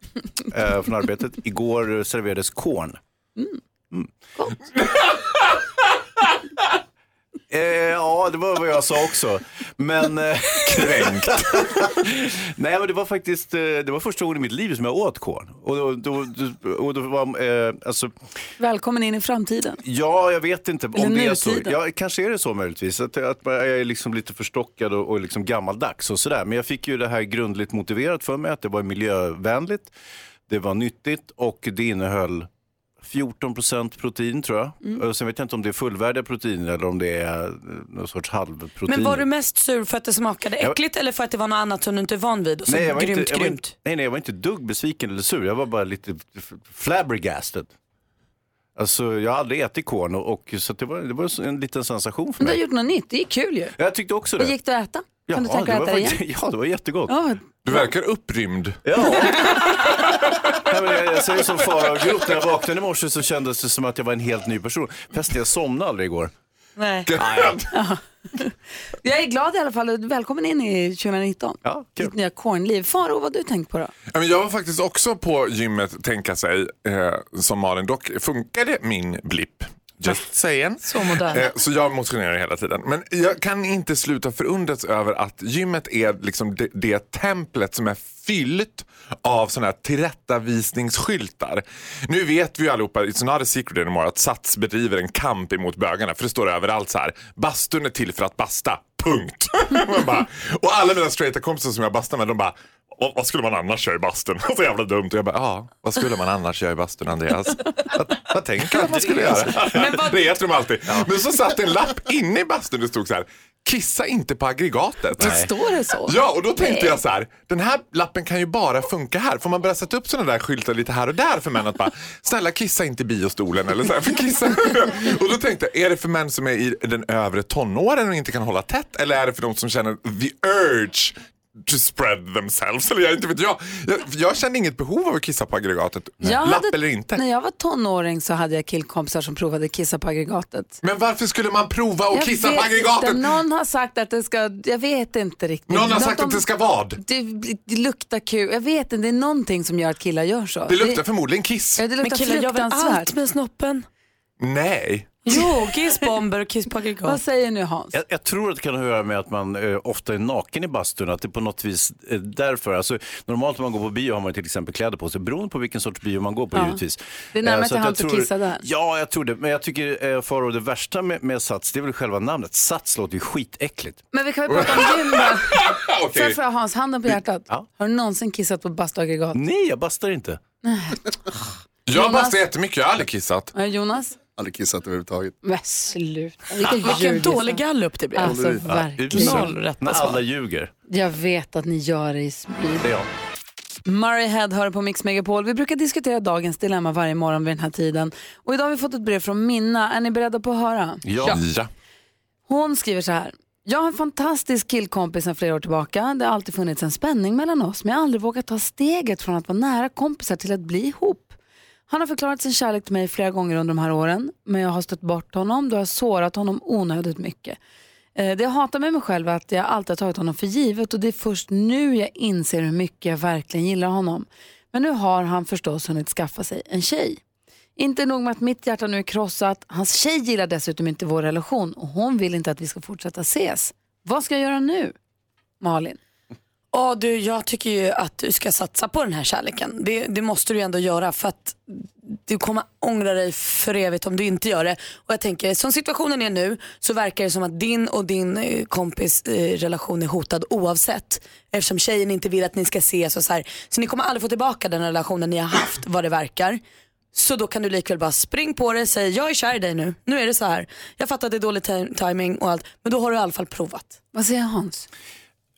C: eh, från arbetet. Igår eh, serverades korn. Mm. [laughs] Eh, ja, det var vad jag sa också. Men... Eh, [laughs] Kränkt. Nej, men det var faktiskt eh, det var första gången i mitt liv som jag åt korn. Och då, då, då, och då var, eh, alltså,
A: Välkommen in i framtiden.
C: Ja, jag vet inte
A: Eller
C: om det är så.
A: nutiden.
C: Ja, kanske är det så möjligtvis. Att, att jag är liksom lite förstockad och, och liksom gammaldags och sådär. Men jag fick ju det här grundligt motiverat för mig. Att det var miljövänligt, det var nyttigt och det innehöll 14% protein tror jag.
D: Mm.
C: Och sen vet jag inte om det är fullvärdiga proteiner eller om det är eh, någon sorts halvprotein.
D: Men var du mest sur för att det smakade
C: Jag-
D: äckligt eller för att det var något annat som du inte är van vid och så
C: jag var
D: grymt
C: inte, jag var,
D: grymt?
C: inte- nej, nej, jag var inte dugg besviken eller sur. Jag var bara lite f- flabbergasted. Alltså, jag har aldrig ätit korn och, och så att det var, det var en liten sensation för
A: Men
C: mig.
A: du har gjort något nytt, det är kul ju.
C: Jag tyckte också
A: Vad
C: det.
A: gick du att äta? Kan du tänka dig
N: det
A: att
N: var
A: äta det
N: faktiskt- [laughs]
A: igen?
C: [laughs] Ja, det var jättegott.
A: Ja,
N: Du verkar upprymd.
A: [laughs]
C: Nej, men jag, jag säger som fara och grott, när jag vaknade i morse så kändes det som att jag var en helt ny person. Fast jag somnade aldrig igår.
A: Nej. [laughs] Jag är glad i alla fall. Välkommen in i 2019.
C: Ja,
A: Ditt nya kornliv. Faro, vad har du tänkt på då?
N: Ja, men Jag var faktiskt också på gymmet, tänka sig, eh, som Malin. Dock funkade min blipp. Just saying.
A: Så modern.
N: Eh, så jag motionerar hela tiden. Men jag kan inte sluta förundras över att gymmet är liksom det, det templet som är fyllt av sådana här tillrättavisningsskyltar. Nu vet vi ju allihopa, it's not a secret anymore, att Sats bedriver en kamp emot bögarna. För det står överallt så här, bastun är till för att basta. Punkt. [laughs] Man bara, och alla mina straighta kompisar som jag bastar med, de bara "Vad- vad skulle man annars göra i bastun? [laughs] Så jävla dumt. Och jag bara, ja, vad skulle man annars göra i bastun Andreas? Vad, vad tänker du att man skulle göra? [laughs] Det heter de alltid. Men så satt en lapp inne i bastun det stod så här, kissa inte på aggregatet.
A: Står det så?
N: Ja, och då tänkte jag så här, den här lappen kan ju bara funka här. Får man börja sätta upp sådana där skyltar lite här och där för män att bara, snälla kissa inte i biostolen eller så här, för kissa. [laughs] Och då tänkte jag, är det för män som är i den övre tonåren och inte kan hålla tätt eller är det för de som känner the urge to spread themselves. Eller jag, inte vet jag. Jag, jag kände inget behov av att kissa på aggregatet.
A: Jag
N: Lapp
A: hade-
N: eller inte.
A: När jag var tonåring så hade jag killkompisar som provade kissa på aggregatet.
N: Men varför skulle man prova att
A: Jag
N: kissa på
A: vet
N: aggregatet?
A: Inte. Någon har sagt att det ska, jag vet inte riktigt.
N: Någon har
A: Något
N: sagt
A: om-
N: att det ska vad?
A: Det, det luktar kul. Jag vet inte, det är någonting som gör att killar gör så.
N: Det luktar förmodligen kiss.
A: Ja, det luktar
D: killar gör väl
A: fruktansvärt.
D: allt med snoppen?
N: Nej.
D: Jo, kissbomber och kiss på
A: Vad
D: aggregat.
A: säger nu Hans?
C: Jag, jag tror att det kan ha att göra med att man eh, ofta är naken i bastun, att det på något vis eh, därför. Alltså, normalt när man går på bio har man ju till exempel kläder på sig, beroende på vilken sorts bio man går på
A: Ja.
C: givetvis.
A: Det är närmare
C: Eh, så
A: till
C: jag
A: hands att
C: tror-
A: kissa där.
C: Ja, jag tror det. Men jag tycker eh, Faro, det värsta med, med Sats, det är väl själva namnet. Sats låter ju skitäckligt.
A: Men vi kan väl prata om gym då.
C: [laughs]
A: Får
C: Okej.
A: jag fråga Hans, handen på hjärtat. Har du någonsin kissat på bastuaggregat?
C: Nej, jag bastar inte.
N: Jag
A: Jonas?
N: bastar jättemycket, jag har aldrig kissat.
A: Ja, Jonas?
T: Aldrig kissat överhuvudtaget.
A: Men sluta.
D: Vilken dålig gallup det blev.
A: Alltså verkligen.
C: När alla ljuger.
A: Jag vet att ni gör det i smyg.
C: Det är jag.
A: Murray Head hör på Mix Megapol. Vi brukar diskutera dagens dilemma varje morgon vid den här tiden. Och idag har vi fått ett brev från Minna. Är ni beredda på att höra?
N: ja.
A: Hon skriver så här. Jag har en fantastisk killkompis sedan flera år tillbaka. Det har alltid funnits en spänning mellan oss men jag har aldrig vågat ta steget från att vara nära kompisar till att bli ihop. Han har förklarat sin kärlek till mig flera gånger under de här åren men jag har stött bort honom då jag har sårat honom onödigt mycket. Eh, Det jag hatar med mig själv är att jag alltid har tagit honom för givet och det är först nu jag inser hur mycket jag verkligen gillar honom. Men nu har han förstås hunnit skaffa sig en tjej. Inte nog med att mitt hjärta nu är krossat, hans tjej gillar dessutom inte vår relation och hon vill inte att vi ska fortsätta ses. Vad ska jag göra nu? Malin.
D: Ja, du, jag tycker ju att du ska satsa på den här kärleken. Det, det måste du ju ändå göra för att du kommer ångra dig för evigt om du inte gör det. Och jag tänker, som situationen är nu så verkar det som att din och din eh, kompis eh, relation är hotad oavsett. Eftersom tjejen inte vill att ni ska ses och så här. Så ni kommer aldrig få tillbaka den relationen ni har haft vad det verkar. Så då kan du likväl bara spring på det, säg jag är kär i dig nu, nu är det så här. Jag fattar att det är dålig ti- timing och allt, men då har du i alla fall provat.
A: Vad säger Hans?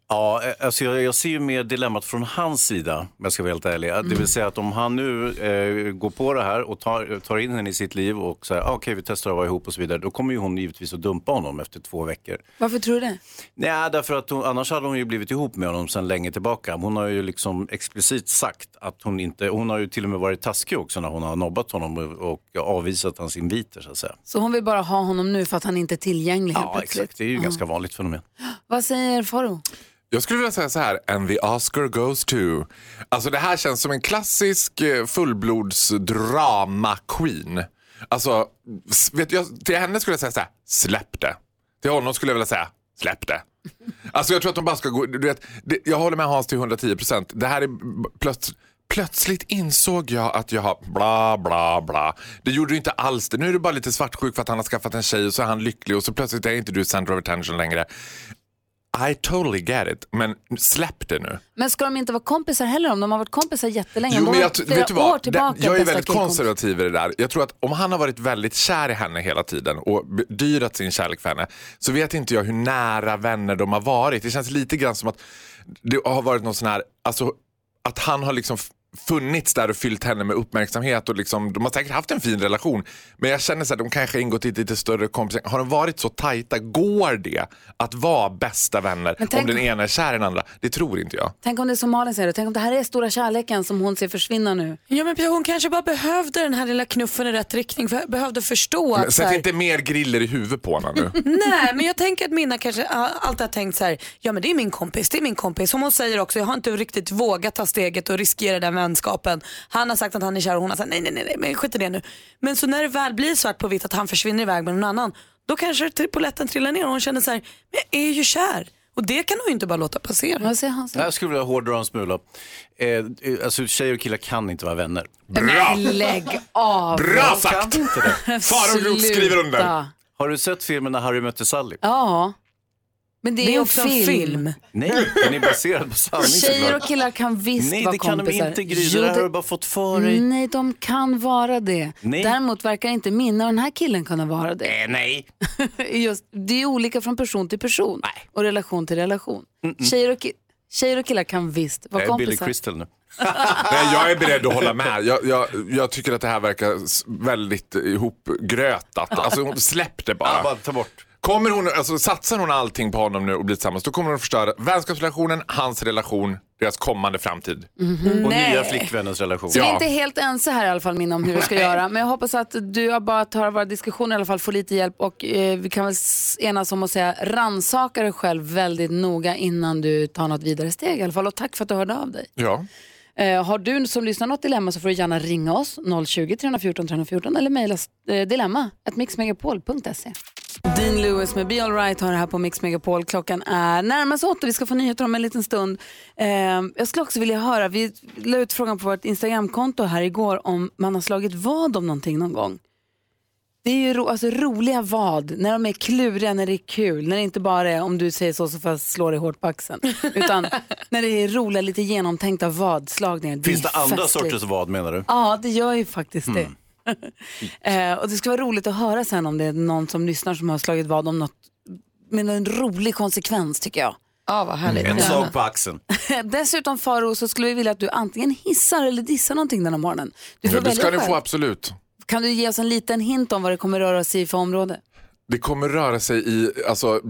C: Ja, eh, alltså jag, jag ser ju mer dilemmat från hans sida, om jag ska vara helt ärlig. Det vill säga att om han nu eh, går på det här och tar, tar in henne i sitt liv och säger ah, okej, vi testar att vara ihop och så vidare, då kommer ju hon givetvis att dumpa honom efter två veckor.
A: Varför tror du det?
C: Nej, därför att hon, annars hade hon ju blivit ihop med honom sedan länge tillbaka. Hon har ju liksom explicit sagt att hon inte, hon har ju till och med varit taskig också när hon har nobbat honom och, och avvisat hans inviter så att säga.
A: Så hon vill bara ha honom nu för att han inte är tillgänglig helt
C: Ja,
A: plötsligt.
C: exakt. Det är ju ganska vanligt fenomen.
A: Vad säger Faro?
N: Jag skulle vilja säga så här, and the Oscar goes to. Alltså det här känns som en klassisk eh, fullblodsdrama-queen. Alltså, s- vet jag, till henne skulle jag säga så här, släpp det. Till honom skulle jag vilja säga, släpp det. Alltså jag tror att de bara ska gå, du vet, det, jag håller med Hans till 110 procent. Det här är b- plöts, plötsligt insåg jag att jag har bla bla bla. Det gjorde du inte alls det. Nu är du bara lite svartsjuk för att han har skaffat en tjej och så är han lycklig och så plötsligt är inte du center of attention längre. I totally get it, men släpp det nu.
A: Men ska de inte vara kompisar heller om de har varit kompisar jättelänge?
N: Jo,
A: de
N: men
A: har
N: jag,
A: varit
N: t-
A: flera
N: vet du
A: år
N: vad? Den,
A: tillbaka
N: jag är
A: bästa
N: väldigt
A: killkompis.
N: konservativ i det där. Jag tror att om han har varit väldigt kär i henne hela tiden och b- dyrat sin kärlek för henne så vet inte jag hur nära vänner de har varit. Det känns lite grann som att det har varit någon sån här, alltså att han har liksom f- funnits där och fyllt henne med uppmärksamhet och liksom, de har säkert haft en fin relation men jag känner så att de kanske har ingått i ett lite större kompisar. Har de varit så tajta, går det att vara bästa vänner
A: Men
N: om
A: tänk-
N: den ena är kär i den andra? Det tror inte jag.
A: Tänk om det är som Malin säger, tänk om det här är stora kärleken som hon ser försvinna nu.
D: Ja, men hon kanske bara behövde den här lilla knuffen i rätt riktning, för behövde förstå
N: Men
D: att så
N: Sätt
D: här,
N: inte mer griller i huvudet på honom nu.
D: [laughs] Nej, men jag tänker att Minna kanske a- alltid har tänkt så här, ja men det är min kompis, det är min kompis. Som hon säger också, jag har inte riktigt vågat ta steget och riskera den vänskapen. Han har sagt att han är kär och hon har sagt nej, nej, nej, nej men skit i det nu. Men så när det väl blir svart på vitt att han försvinner iväg med någon annan, då kanske tri- polletten trillar ner och hon känner så här, men jag är ju kär. Och det kan hon ju inte bara låta passera.
A: Vad säger han?
C: Jag skulle vilja hårdra en smula. Eh, eh, alltså tjejer och killar kan inte vara vänner.
A: Lägg av!
C: Bra sagt! Kan inte
N: [laughs]
C: det.
A: Faro Groth skriver under. Sluta.
C: Har du sett filmen när Harry mötte Sally?
A: Ja, men det är,
D: Det är
A: ju
D: också en film.
C: Nej, den är baserad på sanning
A: Tjejer
C: såklart.
A: och killar kan visst
C: Nej,
A: vara
C: det kan
A: kompisar.
C: de inte Gry.
A: Jo,
C: Det där har
A: det- Mm,
C: du bara fått för dig.
A: Nej, de kan vara det.
C: Nej.
A: Däremot verkar inte Minna och den här killen kunna vara det.
C: Eh, nej.
A: [laughs] Just, det är olika från person till person och relation till relation. Tjejer, och ki- tjejer och killar kan visst
N: Jag
A: vara
N: är
A: kompisar.
N: Billy Crystal
C: nu.
N: [laughs] Nej, jag är beredd att hålla med. Jag, jag, jag tycker att det här verkar s- väldigt ihopgrötat. Alltså, släpp det bara.
C: bara ta bort.
N: Kommer hon, alltså, satsar hon allting på honom nu och blir tillsammans, då kommer hon att förstöra vänskapsrelationen, hans relation, deras kommande framtid.
A: Mhm.
C: Och
A: Nej.
C: nya flickvännens relation.
A: Så vi är inte helt ense här i alla fall, Minna, om hur vi ska
C: Nej.
A: göra. Men jag hoppas att du har bara tar våra diskussioner i alla fall, får lite hjälp och eh, vi kan väl s- enas om att säga rannsaka dig själv väldigt noga innan du tar något vidare steg i alla fall. Och tack för att du hörde av dig.
N: Ja.
A: Eh, har du som lyssnar något dilemma så får du gärna ringa oss 020 314 314 eller mejla s- eh, dilemma at mixmegapol.se. Dean Lewis med Be Alright har det här på Mix Megapol. Klockan är närmast åtta. Vi ska få nyheter om en liten stund. Eh, jag skulle också vilja höra, vi la ut frågan på vårt Instagramkonto här igår om man har slagit vad om någonting någon gång. Det är ju ro, alltså, roliga vad, när de är kluriga, när det är kul, när det inte bara är om du säger så så får jag slå dig hårt på axeln.
C: [laughs]
A: Utan när det är roliga, lite genomtänkta vadslagningar.
C: Finns det
A: är
C: andra
A: festligt.
C: sorters vad menar du?
A: Ja, det gör ju faktiskt det.
C: Mm.
A: [laughs] eh, och det skulle vara roligt att höra sen om det är någon som lyssnar som har slagit vad om något med en rolig konsekvens tycker jag.
D: Ja, vad härligt.
N: Mm,
C: En slag på axeln.
A: [laughs] Dessutom Faro så skulle vi vilja att du antingen hissar eller dissar någonting den här morgonen. Du får
N: Ja, det
A: välja
N: ska ni
A: själv.
N: få absolut.
A: Kan du ge oss en liten hint om vad det kommer röra sig i för område?
N: Det kommer röra sig i, alltså,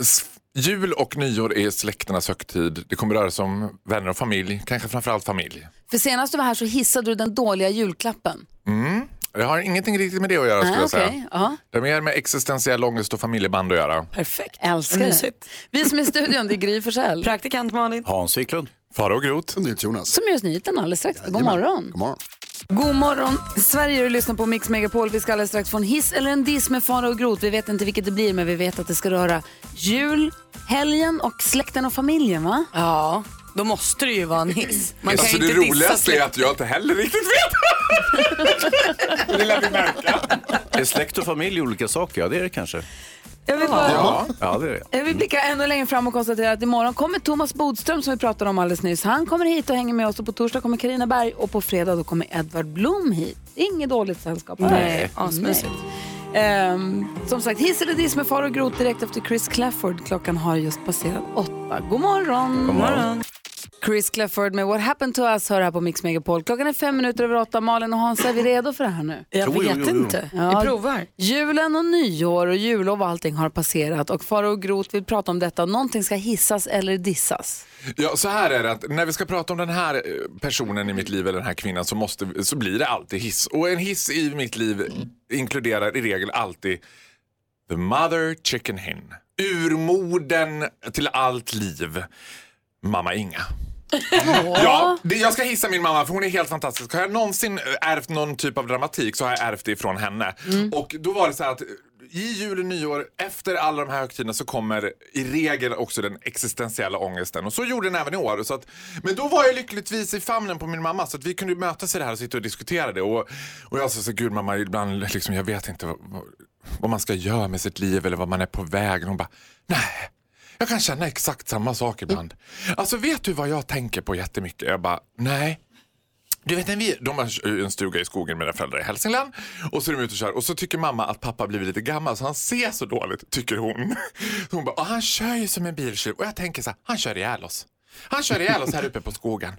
N: s- jul och nyår är släkternas högtid. Det kommer röra sig om vänner och familj, kanske framförallt familj.
A: För senast du var här så hissade du den dåliga julklappen.
N: Mm. Det har ingenting riktigt med det att göra skulle
A: Ah,
N: jag säga.
A: okej. Ja.
N: Det har mer med existentiell ångest och familjeband att göra.
A: Perfekt. Älskar det.
D: Mysigt.
A: Vi som är i studion, det är Gry Forssell.
D: Praktikant Malin.
C: Hans Wiklund.
N: Farao Groth.
I: Jonas.
A: Som gör oss nyheten alldeles strax. God morgon.
I: God morgon.
A: God morgon, Sverige. Du lyssnar på Mix Megapol. Vi ska alldeles strax få en hiss eller en diss med fara och grot. Vi vet inte vilket det blir, men vi vet att det ska röra jul, helgen och släkten och familjen, va?
H: Ja, då måste det ju vara en hiss. Man kan
N: alltså,
H: ju
N: det
H: inte dissa
N: [laughs] roligaste är
H: släkt.
N: att jag inte heller riktigt vet.
C: Är släkt och familj olika saker? Ja, det är det kanske.
A: Jag vill bara...
C: Ja, ja det är det.
A: Jag vill blicka ännu längre fram och konstatera att imorgon kommer Thomas Bodström som vi pratade om alldeles nyss. Han kommer hit och hänger med oss och på torsdag kommer Karina Berg och på fredag då kommer Edvard Blom hit. Inget dåligt sällskap.
D: Nej, asmysigt.
A: Ehm, som sagt, hiss eller diss med far och grot direkt efter Chris Clafford. Klockan har just passerat åtta. God morgon!
D: God morgon.
A: Chris Clafford med What Happened To Us hör här på Mix Megapol. Klockan är fem minuter över åtta. Malin och Hans, är vi redo för det här nu?
D: Jag vet inte. Vi provar.
A: Julen och nyår och jullov och allting har passerat och Faro och Grot vill prata om detta. Någonting ska hissas eller dissas.
N: Ja, så här är det att när vi ska prata om den här eh, personen i mitt liv eller den här kvinnan så, måste, så blir det alltid hiss. Och en hiss i mitt liv inkluderar i regel alltid the mother chicken hen. Urmoden till allt liv. Mamma Inga. Ja, det, jag ska hissa min mamma för hon är helt fantastisk. Har jag någonsin eh, ärvt någon typ av dramatik så har jag ärvt det ifrån henne. Och då var det så här att eh, i jul och nyår, efter alla de här högtiderna så kommer i regel också den existentiella ångesten. Och så gjorde den även i år. Så att, men då var jag lyckligtvis i famnen på min mamma så att vi kunde mötas i det här och sitta och diskutera det. Och, och jag sa så gud mamma, ibland liksom, jag vet inte vad, vad, vad man ska göra med sitt liv eller vad man är på väg. Och hon bara, nej. Jag kan känna exakt samma sak ibland. Alltså vet du vad jag tänker på jättemycket? Jag bara, nej. Du vet när vi, de har en stuga i skogen med mina föräldrar i Hälsingland och så är de ute och kör och så tycker mamma att pappa blivit lite gammal så han ser så dåligt, tycker hon. [laughs] Så hon bara, "Ah, han kör ju som en biltjuv och jag tänker så här, han kör ihjäl oss. Han kör ihjäl oss här uppe på skogen.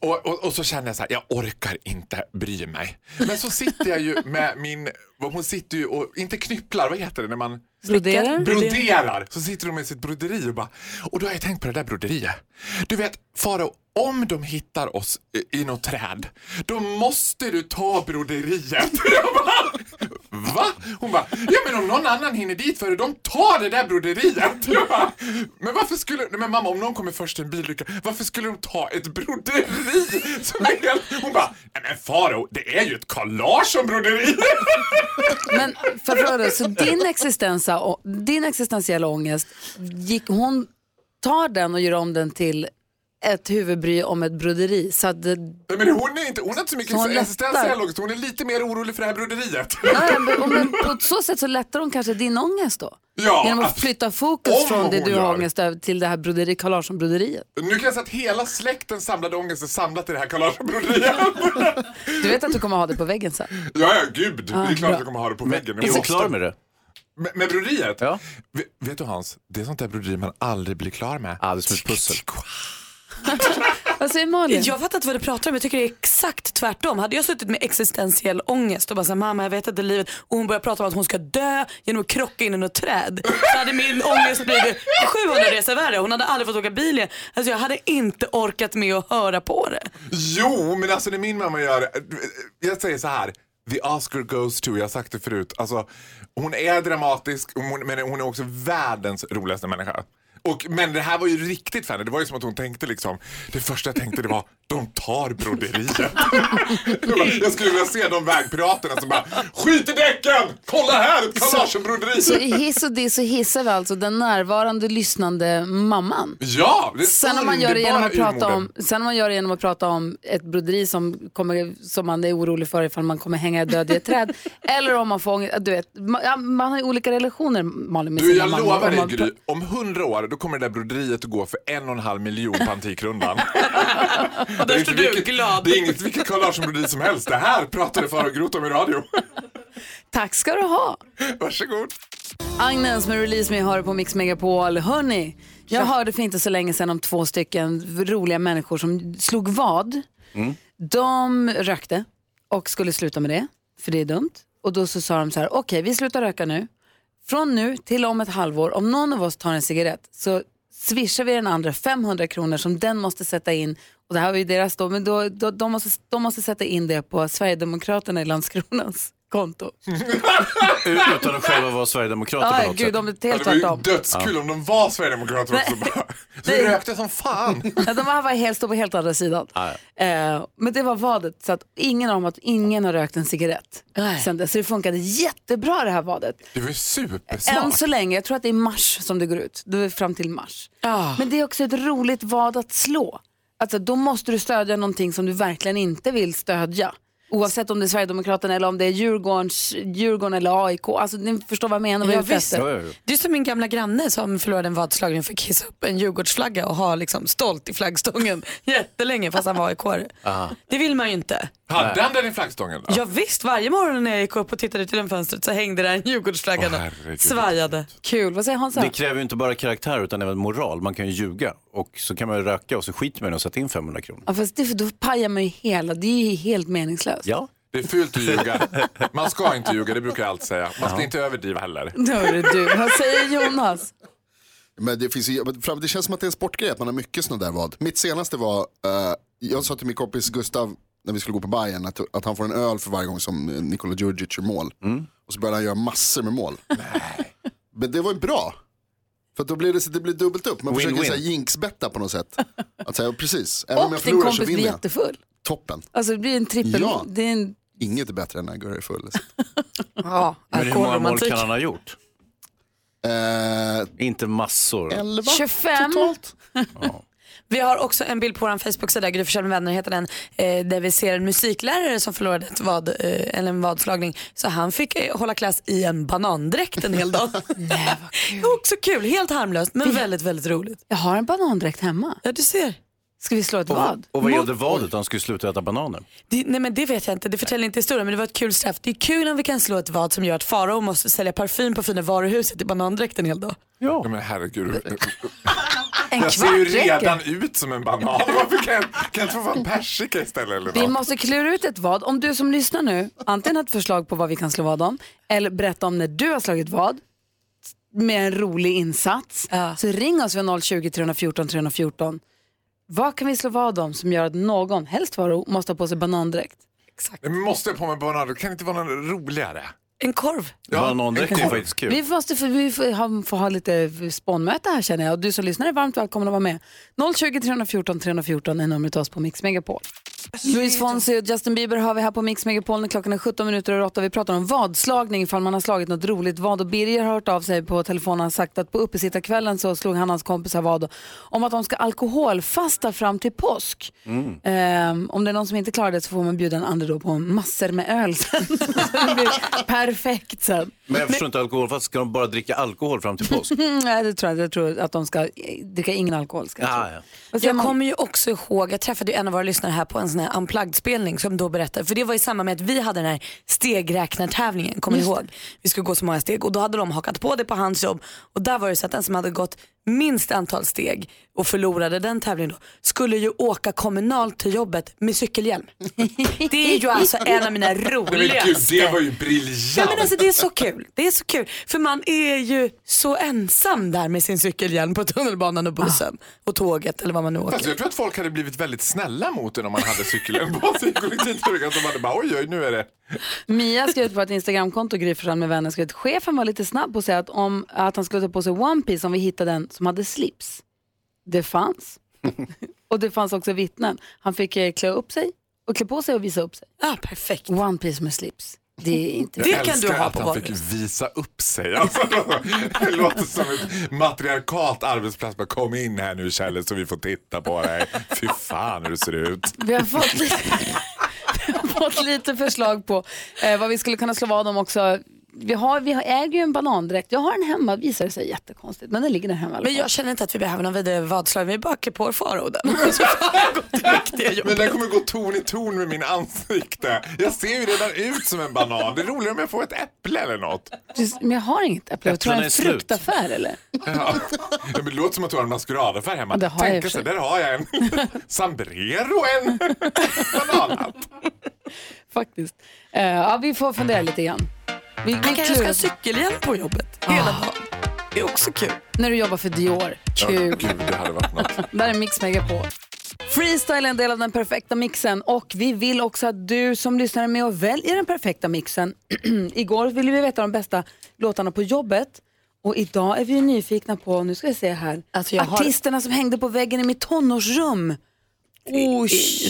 N: Och, och, och så känner jag så här, jag orkar inte bry mig. Men så sitter jag ju med min, vad hon sitter ju och, inte knypplar, vad heter det när man
A: Broderar?
N: broderar. Så sitter de med sitt broderi och bara, och då har jag tänkt på det där broderiet. Du vet, Faro, om de hittar oss i- i något träd, då måste du ta broderiet. [laughs] Jag bara, Va? Hon bara, ja men om någon annan hinner dit före, de tar det där broderiet. Jag bara, men varför skulle, nej, men mamma om någon kommer först i en bilolycka, varför skulle de ta ett broderi? Som är helt, hon bara, nej men Faro, det är ju ett Carl Larsson-broderi.
A: Men för att fråga dig, så din, existensa, och- din existentiella ångest, gick, hon tar den och gör om den till ett huvudbry om ett broderi. Så att det,
N: Nej, men hon, är inte, hon har inte så mycket
A: Så hon
N: existentiell
A: lättar.
N: ångest, hon är lite mer orolig för det här broderiet.
A: Nej, men, och men på så sätt så lättar hon kanske din ångest då?
N: Ja,
A: Genom att flytta fokus
N: om
A: från det
N: hon
A: du har
N: gör.
A: ångest över till det här broderi, Carl Larsson-broderiet.
N: Nu kan jag säga att hela släkten samlade ångest är samlat i det här Carl Larsson-broderiet.
A: Du vet att du kommer ha det på väggen sen?
N: Ja, ja, gud.
A: Ah,
N: det är klart
A: bra.
N: att jag kommer ha det på väggen.
C: Är du klar med det?
N: Med, med broderiet? Ja. vet du Hans, det är sånt där broderi man aldrig blir klar med.
C: Ja, det är som ett pussel.
U: [laughs] Vad säger Malin?
D: Jag fattar inte vad du pratar om, jag tycker det är exakt tvärtom. Hade jag suttit med existentiell ångest och bara såhär, mamma jag vet inte livet och hon börjar prata om att hon ska dö genom att krocka in i något träd. Så hade min ångest blivit 700 resor värre. Hon hade aldrig fått åka bil igen. Alltså jag hade inte orkat med att höra på det.
N: Jo, men alltså när min mamma gör jag säger så här. The Oscar goes to, jag har sagt det förut. Alltså, hon är dramatisk hon, men hon är också världens roligaste människa. Och, men det här var ju riktigt fan. Det var ju som att hon tänkte liksom, det första jag tänkte det var, de tar broderiet. [laughs] jag, bara, jag skulle vilja se de vägpiraterna som bara, skit i däcken! Kolla här, ett kalasenbroderi!
A: Så i hiss och diss så hissar vi alltså den närvarande lyssnande mamman.
N: Ja, det är
A: sen om, man gör det genom att
N: underbara
A: prata om,
N: urmodern.
A: sen om man gör det genom att prata om ett broderi som, kommer, som man är orolig för ifall man kommer hänga död i
N: [laughs]
A: ett träd. eller om man får ångest. Du vet, man, ja, man har ju olika relationer Malin med
N: Du,
A: sina
N: jag
A: mammor.
N: lovar
A: Om
N: dig
A: man
N: Gry, om hundra år då kommer det där broderiet att gå för en och en halv miljon på
A: [laughs]
N: Antikrundan. det, är inte vilket, det är inget vilket Carl Larsson-broderi som helst. Det här pratade Farao Groth om i radio.
A: Tack ska du ha.
N: Varsågod.
A: Agnes med Release Me hör på Mix Megapol. Hörni, jag hörde för inte så länge sedan om två stycken roliga människor som slog vad.
V: Mm.
A: De rökte och skulle sluta med det, för det är dumt. Och då så sa de så här, okej vi slutar röka nu. Från nu till om ett halvår, om någon av oss tar en cigarett så swishar vi den andra 500 kronor som den måste sätta in. Och det här var ju deras då, men då, då, de, måste, de måste sätta in det på Sverigedemokraterna i Landskronas konto.
C: Utan att själva vara sverigedemokrater
A: Aj,
C: på något
A: gud,
C: sätt.
A: de är helt Ja, det
N: var ju
A: tvärtom.
N: dödskul om de var sverigedemokrater också. Bara,
A: [laughs]
N: så
A: Nej.
N: vi rökte som fan.
A: [laughs] Ja, de här var helt, stod på helt andra sidan. Eh, men det var vadet, så att ingen av dem att ingen har rökt en cigarett sen dess. Så det funkade jättebra det här vadet.
N: Det var ju supersmart.
A: Än så länge, jag tror att det är mars som det går ut, det är fram till mars. Men det är också ett roligt vad att slå. Alltså, då måste du stödja någonting som du verkligen inte vill stödja. Oavsett om det är Sverigedemokraterna eller om det är Djurgårdens, Djurgården eller AIK. Alltså, ni förstår vad jag menar. vad jag är ute efter.
D: Det är som min gamla granne som förlorade en vadslagning och fick hissa upp en Djurgårdsflagga och ha liksom stolt i flaggstången [laughs] jättelänge fast han var aik
N: Aha.
D: Det vill man ju inte.
N: Ah. Hade han den i flaggstången?
D: Ja, visst, varje morgon när jag gick upp och tittade ut genom fönstret så hängde där en Djurgårdsflagga.
C: Åh,
D: då.
C: herregud.
D: Svajade.
A: Kul, vad säger Hansa?
C: Det kräver ju inte bara karaktär utan även moral. Man kan ju ljuga och så kan man ju röka och så skiter man i att sätta in 500 kronor.
A: Ja, fast det, då pajar man ju hela, det är ju helt meningslöst.
C: Ja.
N: Det är fult att ljuga. Man ska inte ljuga, det brukar jag alltid säga. Man ska
I: Ja.
N: inte överdriva heller.
A: Hörru du, vad säger Jonas?
I: Men det, finns ju, men fram- det känns som att det är en sportgrej att man har mycket sådana där vad. Mitt senaste var, eh, jag sa till min kompis Gustav när vi skulle gå på Bayern att, att han får en öl för varje gång som eh, Nikola Djurdjic gör mål.
C: Mm.
I: Och så började han göra massor med mål. Men det var ju bra. För att då blir det, så- det blir dubbelt upp. Man
C: Win-win.
I: försöker så här jinxbetta på något sätt. Att säga, precis, även om
A: Och
I: jag
A: din
I: förlorar så
A: kompis blir
I: vinner jag.
A: jättefull.
I: Toppen.
A: Alltså det blir en trippel.
I: Ja.
A: Det är en,
I: Inget är bättre än när Gurra är full.
A: ja,
C: Men hur många mål
A: alkoholromantik.
C: kan han ha gjort?
I: Eh,
C: inte massor.
D: 25. Vi har också en bild på vår Facebook-sida, Gry Forssell med vänner heter den, eh, där vi ser en musiklärare som förlorade ett vad, eh, eller en vadslagning. Så han fick eh, hålla klass i en banandräkt en hel
A: [laughs]
D: dag. Nej, vad kul. också kul, helt harmlöst men väldigt, väldigt roligt.
A: Jag har en banandräkt hemma.
D: Ja, du ser.
A: Ska vi slå ett vad?
C: Och vad gällde vadet? Han skulle sluta äta bananer.
D: Det, nej men det vet jag inte, det förtäljer inte historien men det var ett kul straff. Det är kul om vi kan slå ett vad som gör att Farao måste sälja parfym på fina varuhuset i banandräkten en hel dag.
N: Ja. Men herregud.
A: En
N: jag ser ju
A: kvart räcker.
N: redan ut som en banan. [laughs] Varför kan jag, kan jag inte få vara en persika istället? Eller
A: Vi
N: något?
A: måste klura ut ett vad. Om du som lyssnar nu antingen har ett förslag på vad vi kan slå vad om eller berätta om när du har slagit vad med en rolig insats så ring oss vid 020 314 314. Vad kan vi slå vad om som gör att någon, helst Farao, måste ha på sig banandräkt?
N: Nej, men måste jag på mig banan? Det kan inte vara något roligare.
D: En korv.
N: Ja,
C: Banandräkt är
N: en korv.
C: faktiskt kul.
A: Vi måste få, vi får, ha, får ha lite spånmöte här känner jag. Och du som lyssnar är varmt välkommen att vara med. 020 314 314 är numret till oss på Mix Megapol. Louis Fonsi och Justin Bieber har vi här på Mix Megapol när klockan är 17 minuter över 8. Vi pratar om vadslagning ifall man har slagit något roligt vad. Och Birger har hört av sig på telefonen och sagt att på uppesittarkvällen så slog han hans kompisar vad om att de ska alkoholfasta fram till påsk.
V: Mm.
A: Ehm, om det är någon som inte klarar det så får man bjuda en andra då på massor med öl sen. [laughs] så det blir perfekt sen.
C: Men jag förstår inte alkoholfast. Ska de bara dricka alkohol fram till påsk?
A: Nej, det tror jag inte. Jag tror att de ska eh, dricka ingen alkohol. Ska [laughs] jag tro.
C: Ah, ja.
A: säger
D: Jag
A: man-
D: kommer ju också ihåg, jag träffade ju en av våra lyssnare här på en sån här unplugged-spelning som då berättade, för det var i samband med att vi hade den här stegräknartävlingen, kommer ni
A: Just
D: ihåg? Vi skulle gå så många steg och då hade de hakat på det på hans jobb och där var det så att den som hade gått minst antal steg och förlorade den tävlingen då, skulle ju åka kommunalt till jobbet med cykelhjälm. Det är ju alltså en av
N: [laughs]
D: mina
N: Nej, men gud,
D: roligaste
N: det var ju briljant.
D: Ja, men alltså, det är så kul. Det är så kul. För man är ju så ensam där med sin cykelhjälm på tunnelbanan
N: Ah.
D: och bussen och tåget eller vad man nu åker.
N: Fast jag tror att folk hade blivit väldigt snälla mot en om man hade cykeln på sig i kollektivtrafiken. De hade bara oj, oj, nu är det...
A: Mia skrev ut på ett Instagramkonto, Gry Forssell med vänner, skrev att chefen var lite snabb på att säga att, om, att han skulle ta på sig One Piece om vi hittade den som hade slips. Det fanns. och det fanns också vittnen. Han fick eh, klä upp sig och klä på sig och visa upp sig.
D: Ah, perfekt.
A: One Piece med slips. Det är inte
N: jag älskar att han fick visa upp sig. Alltså, det låter som ett matriarkalt arbetsplats. Bara, kom in här nu Kjelle så vi får titta på dig. Fy fan hur du ser ut.
A: Vi har fått lite, [laughs] vi har fått lite förslag på eh, vad vi skulle kunna slå vad om också. Vi, har, vi har, äger ju en banandräkt. Jag har en hemma, visar det sig jättekonstigt. Men den ligger där hemma. i alla
D: Men
A: fall.
D: jag känner inte att vi behöver någon vidare vadslag. Vi bara klär på faroden.
N: Ah. Men den kommer gå ton i ton med min ansikte. Jag ser ju redan ut som en banan. Det är roligare om jag får ett äpple eller något.
A: Just- Men jag har inget äpple. Jag tror det är en
N: Äpplena är slut.
A: fruktaffär eller?
N: Ja. Men det låter som att du har en maskeradaffär hemma.
A: Ja, det har jag i och
N: Tänk
A: för
N: sig,
A: sig.
N: där har jag en. [laughs] Sambrero en.
A: [laughs] Faktiskt. Eh, ja, vi får fundera lite grann. Vi, vi
D: Man kanske ska
A: klurar.
D: ha cykelhjälm på jobbet hela dagen. Det är också kul.
A: När du jobbar för Dior. Kul.
N: gud, det hade varit något.
A: Där är Mix Megapol. Freestyle är en del av den perfekta mixen och vi vill också att du som lyssnar är med och väljer den perfekta mixen. [clears throat] Igår ville vi veta de bästa låtarna på jobbet och idag är vi ju nyfikna på, nu ska vi se här,
D: jag har-
A: artisterna som hängde på väggen i mitt tonårsrum.
D: Oh,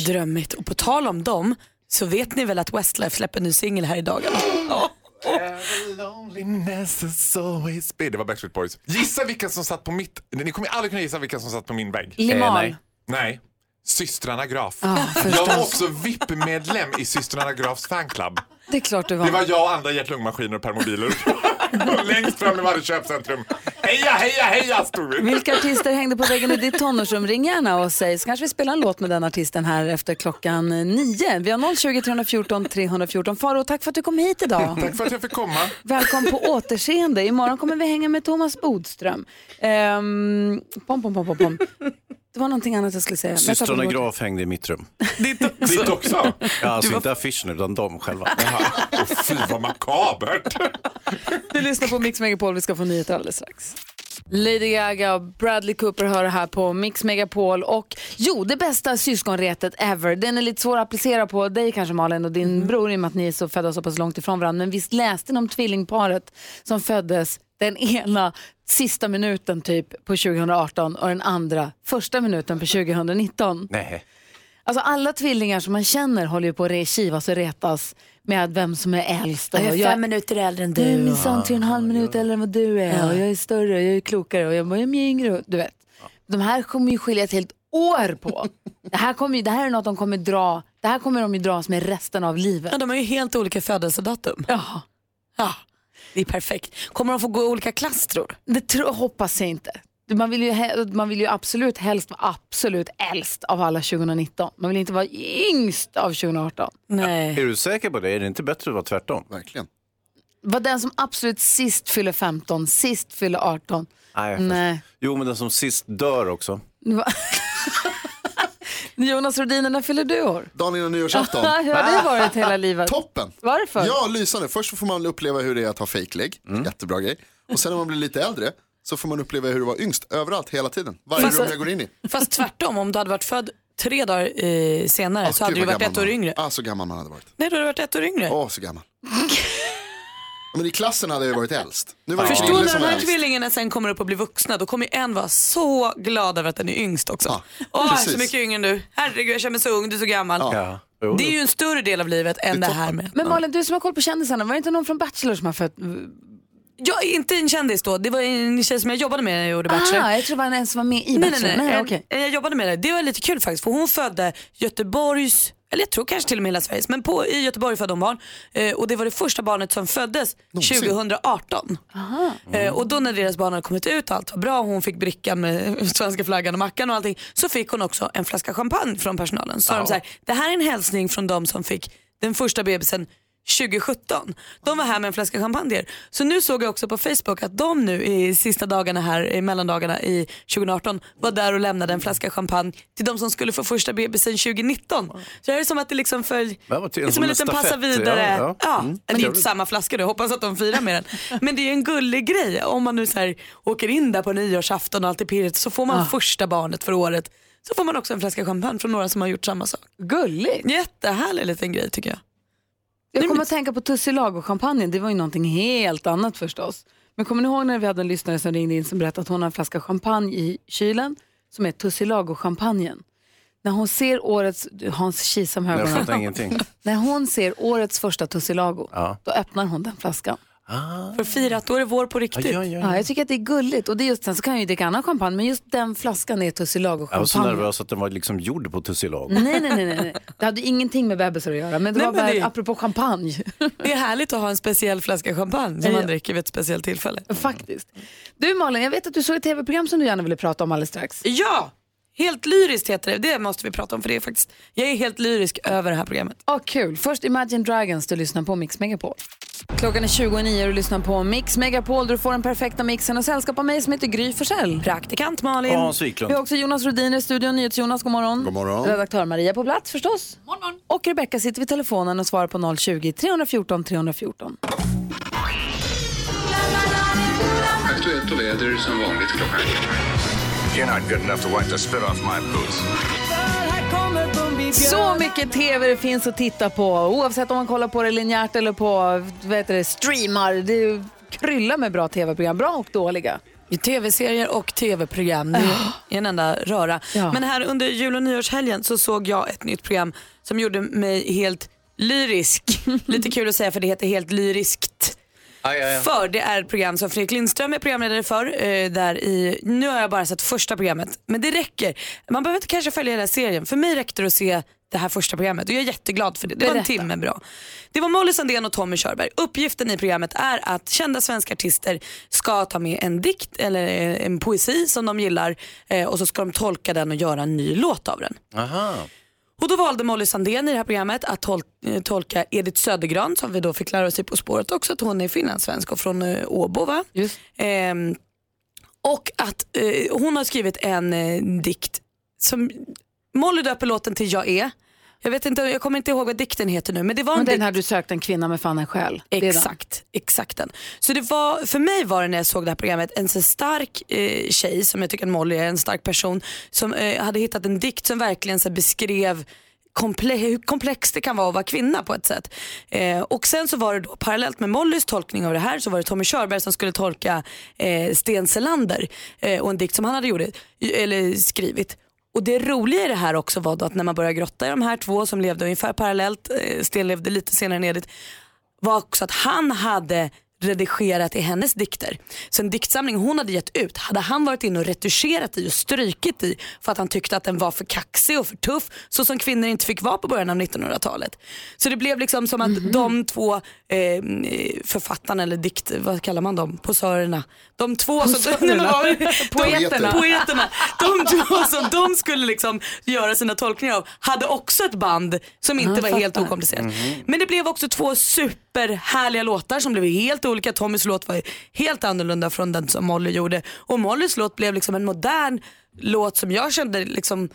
D: drömmigt. Och på tal om dem så vet ni väl att Westlife släpper en ny singel här i dagarna? Ja.
N: Loneliness is always be- Det var Backstreet Boys. Gissa vilka som satt på mitt... Ni kommer aldrig kunna gissa vilka som satt på min vägg.
A: Limal. Eh, nej.
N: Nej. Systrarna Graf.
A: Ah,
N: jag
A: förstås.
N: var också VIP-medlem i Systrarna Grafs fanclub.
A: Det är klart du var.
N: Det var jag och andra hjärt-lungmaskiner och permobiler. [laughs] Och Längst fram i varje köpcentrum. Heja, heja, heja stod vi.
A: Vilka artister hängde på väggen i ditt tonårsrum? Ring gärna och säg så kanske vi spelar en låt med den artisten här efter klockan nio. Vi har 020 314 314. Faro, tack för att du kom hit idag.
N: Tack för att jag fick komma.
A: Välkommen på återseende. Imorgon kommer vi hänga med Thomas Bodström. Ehm, pom, pom, pom, pom, pom. Det var någonting annat jag skulle säga. men jag tappade
C: Systrarna
A: bort det.
C: Graf hängde i mitt rum. [laughs]
D: Ditt också?
N: Ditt också?
C: Ja, alltså
A: Du var-
C: inte affischen utan de själva.
N: Åh, fy vad makabert.
A: Du lyssnar på Mix Megapol, vi ska få nyheter alldeles strax. Lady Gaga och Bradley Cooper hör det här på Mix Megapol och jo, det bästa syskonretet ever. Den är lite svår att applicera på dig kanske Malin och din bror i och med att ni är så födda så pass långt ifrån varandra. Men visst läste ni om tvillingparet som föddes den ena sista minuten typ på 2018 och den andra första minuten på 2019?
C: Nej.
A: Alltså alla tvillingar som man känner håller ju på att re- kivas och retas med vem som är äldst. och
D: Jag är
A: jag-
D: fem minuter äldre än
A: du är
D: du.
A: minsann tre och en halv minut äldre än vad du är. Och jag är större och jag är klokare och jag är mycket yngre. och- Du vet. De här kommer ju skilja ett helt år på. det, här kommer ju, det här är något de kommer dra. Det här kommer de ju dras med resten av livet.
D: Ja, de har ju helt olika födelsedatum.
A: Ja.
D: ja. Det är perfekt. Kommer de få gå i olika klass tror du?
A: Det tro, hoppas jag inte. Man vill, ju, he- man vill ju absolut helst vara absolut äldst av alla 2019. Man vill inte vara yngst av 2018.
D: Nej.
C: Är du säker på det? Är det inte bättre att vara tvärtom?
I: Verkligen.
A: Var den som absolut sist fyller 15, sist fyller 18.
C: Nej. jag
A: Nej.
C: förstår. Jo, men den som sist dör också.
A: Va- [laughs] Jonas Rhodiner, när fyller du år?
I: Dagen innan
D: [laughs]
A: [laughs]
I: nyårsafton.
A: Hur har det varit hela
I: [laughs]
A: livet?
I: Toppen!
A: Varför?
I: Ja, lysande. Först så får man uppleva hur det är att ha fejklägg. Jättebra grej. Och sen när man blir lite äldre så får man uppleva hur det var yngst överallt hela tiden. Varje
D: Fast-
I: rum jag går in i.
D: Fast tvärtom, om du hade varit född tre dagar eh, senare så hade
I: Ah, Alltså, Gud,
D: du
I: vad
D: varit
I: gammal
D: ett år
I: man-
D: yngre.
I: Ah, så gammal man hade varit.
D: Nej, du hade varit ett år yngre.
I: Åh, så
D: [laughs]
I: gammal. Men i klassen hade jag ju varit äldst. Nu var det en
D: Förstå
I: kille
D: när
I: som
D: de
I: var
D: här
I: äldst.
D: tvillingarna sen kommer upp och blir vuxna, då kommer ju en vara så glad över att den är yngst också. Åh, jag är så
I: Ah, precis.
D: mycket yngre än du. Herregud, jag känner mig så ung, du är så gammal.
C: Ja. Jo,
D: Det är ju en större del av livet än det, här med.
A: Men Malin, du som har koll på kändisarna, var det inte någon från Bachelor som har fött?
D: Jag är inte en kändis då, det var en tjej som jag jobbade med när jag gjorde Bachelor.
A: Ah, jag tror det var en som var med i
D: nej,
A: Bachelor.
D: nej, nej.
A: nej
D: En-
A: okej.
D: en Jag jobbade med det. Det var lite kul faktiskt för hon födde Göteborgs, eller jag tror kanske till och med hela Sveriges, men på, i Göteborg födde hon barn. Eh, och det var det första barnet som föddes 2018. Eh, och då när deras barn hade kommit ut och allt var bra och hon fick brickan med [laughs] svenska flaggan och mackan och allting så fick hon också en flaska champagne från personalen. Så sa de så här, det här är en hälsning från de som fick den första bebisen 2017. De var här med en flaska champagne. Så nu såg jag också på Facebook att de nu i sista dagarna här, i mellandagarna i 2018, var där och lämnade en flaska champagne till de som skulle få första bebisen 2019. Så det här är som att det liksom följer,
C: Ja, vad till-
D: som en liten
C: stafett,
D: passa vidare.
C: ja, ja.
D: Ja,
C: Mm.
D: Det är ju inte
C: Trevligt.
D: samma flaska då, hoppas att de firar med den. Men det är ju en gullig grej. Om man nu så här, åker in där på nyårsafton och allt är pirrigt så får man
A: Ah.
D: första barnet för året. Så får man också en flaska champagne från några som har gjort samma sak.
A: Gulligt.
D: Jättehärlig liten grej tycker jag.
A: Jag kommer att tänka på Tussilago-champagnen, det var ju någonting helt annat förstås. Men kommer ni ihåg när vi hade en lyssnare som ringde in som berättade att hon har en flaska champagne i kylen som är Tussilago-champagnen. När hon ser årets, du, Hans kisar med
C: Nej, jag
A: ögonen.
C: fattar ingenting.
A: [laughs] När hon ser årets första Tussilago, då öppnar hon den flaskan.
C: Ah.
D: För att fira att då är det vår på riktigt.
C: Ja, ja, ja.
A: jag tycker att det är gulligt. Och det är just, sen så kan jag ju dricka annan champagne, men just den flaskan är
C: Jag var så
A: Tussilago-champagne.
C: nervös att den var liksom gjord på tussilago.
A: Nej, nej, nej, nej, nej. Det hade ju ingenting med bebisar att göra, men det
D: Nej,
A: var
D: men
A: bara
D: det-
A: apropå champagne.
D: Det är härligt att ha en speciell flaska champagne som
A: Ja.
D: man dricker vid ett speciellt tillfälle.
A: Faktiskt. Du Malin, jag vet att du såg ett tv-program som du gärna ville prata om alldeles strax.
D: Ja, helt lyriskt heter det. Det måste vi prata om för det är faktiskt, jag är helt lyrisk över det här programmet.
A: Åh, kul. Först Imagine Dragons, du lyssnar på Mix Megapol. Klockan är 29 och du lyssnar på Mix Megapol där du får den perfekta mixen och sällskap av mig som heter Gry Forssell.
D: Praktikant Malin.
C: Och Hans Wiklund.
A: Vi har också Jonas Rodiner i studion, NyhetsJonas, god morgon.
C: God morgon.
A: Redaktör Maria på plats förstås. Morgon. Och Rebecka sitter vid telefonen och svarar på 020-314 314.
V: Aktuellt och väder som vanligt klockan You're not good enough to wipe the spit off my boots.
A: Så mycket tv det finns att titta på oavsett om man kollar på det linjärt eller på vad heter det, streamar. Det kryllar med bra tv-program, bra och dåliga.
D: Tv-serier och tv-program det är en enda röra.
A: Ja.
D: Men här under jul och nyårshelgen så såg jag ett nytt program som gjorde mig helt lyrisk. Lite kul att säga för det heter Helt lyriskt. För det är ett program som Fredrik Lindström är programledare för. Eh, där i, nu har jag bara sett första programmet, men det räcker. Man behöver inte kanske följa hela serien. För mig räckte det att se det här första programmet och jag är jätteglad för det. Det var en
A: Berätta.
D: timme bra. Det var Molly Sandén och Tommy Körberg. Uppgiften i programmet är att kända svenska artister ska ta med en dikt eller en poesi som de gillar eh, och så ska de tolka den och göra en ny låt av den.
C: Aha.
D: Och då valde Molly Sandén i det här programmet att tol- eh, tolka Edith Södergran som vi då fick lära oss i På spåret också att hon är finlandssvensk och från eh, Åbo va? Ehm, och att eh, hon har skrivit en eh, dikt som Molly döper låten till Jag är. Jag, vet inte, jag kommer inte ihåg vad dikten heter nu men det var
A: Men
D: en
A: den
D: dikt.
A: här du sökte en kvinna med fan en själ. Det är den.
D: Exakt, exakt den. Så det var, för mig var det när jag såg det här programmet en så stark eh, tjej som jag tycker att Molly är, en stark person som eh, hade hittat en dikt som verkligen så här, beskrev komple- hur komplext det kan vara att vara kvinna på ett sätt. Eh, och sen så var det då parallellt med Mollys tolkning av det här så var det Tommy Körberg som skulle tolka eh, Sten Selander eh, och en dikt som han hade gjort, eller skrivit. Och det roliga i det här också var då att när man började grotta i de här två som levde ungefär parallellt, eh, Sten levde lite senare än Edith, var också att han hade redigerat i hennes dikter. Så en diktsamling hon hade gett ut hade han varit inne och retuscherat i och strykit i för att han tyckte att den var för kaxig och för tuff så som kvinnor inte fick vara på början av 1900-talet. Så det blev liksom som att
A: Mhm.
D: de två eh, författarna eller dikt, vad kallar man dem, posörerna. De två som, [laughs]
A: Posörerna.
D: de,
A: [laughs] Poeterna.
D: poeterna. De två som de skulle liksom göra sina tolkningar av hade också ett band som inte
A: Ja,
D: var
A: fattar.
D: helt okomplicerat. Men det blev också två superhärliga låtar som blev helt olika. Tommys låt var helt annorlunda från den som Molly gjorde. Och Mollys låt blev liksom en modern låt som jag kände liksom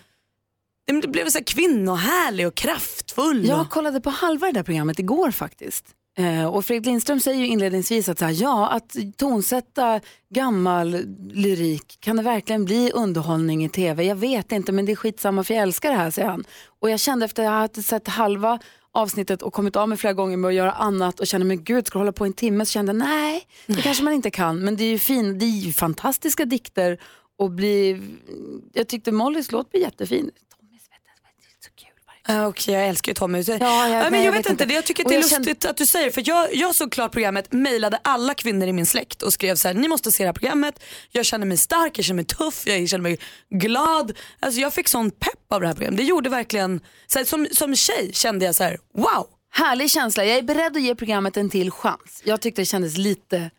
D: det blev så här kvinnohärlig och kraftfull.
A: Jag kollade på halva det där programmet igår faktiskt. Eh, och Fredrik Lindström säger ju inledningsvis att, så här, ja, att tonsätta gammal lyrik, kan det verkligen bli underhållning i tv? Jag vet inte, men det är skitsamma för jag älskar det här, säger han. Och jag kände efter att jag hade sett halva avsnittet och kommit av mig flera gånger med att göra annat och kände, men gud, ska jag hålla på en timme? Så kände jag, nej, det kanske man inte kan. Men det är ju, fin, det är ju fantastiska dikter och bli, jag tyckte Mollys låt blev jättefin.
D: Ah, Okej, jag älskar ju Tommy. Ja,
A: jag-
D: men
A: Ah, jag
D: jag
A: vet
D: vet inte,
A: inte.
D: jag tycker
A: Och
D: att det är
A: jag
D: lustigt
A: kände-
D: att du säger det, för jag, jag såg klart programmet, mejlade alla kvinnor i min släkt och skrev så här, ni måste se det här programmet, jag känner mig stark, jag känner mig tuff, jag känner mig glad. Alltså jag fick sån pepp av det här programmet, det gjorde verkligen, så här, som, som tjej kände jag så här, wow.
A: Härlig känsla. Jag är beredd att ge programmet en till chans. Jag tyckte det kändes lite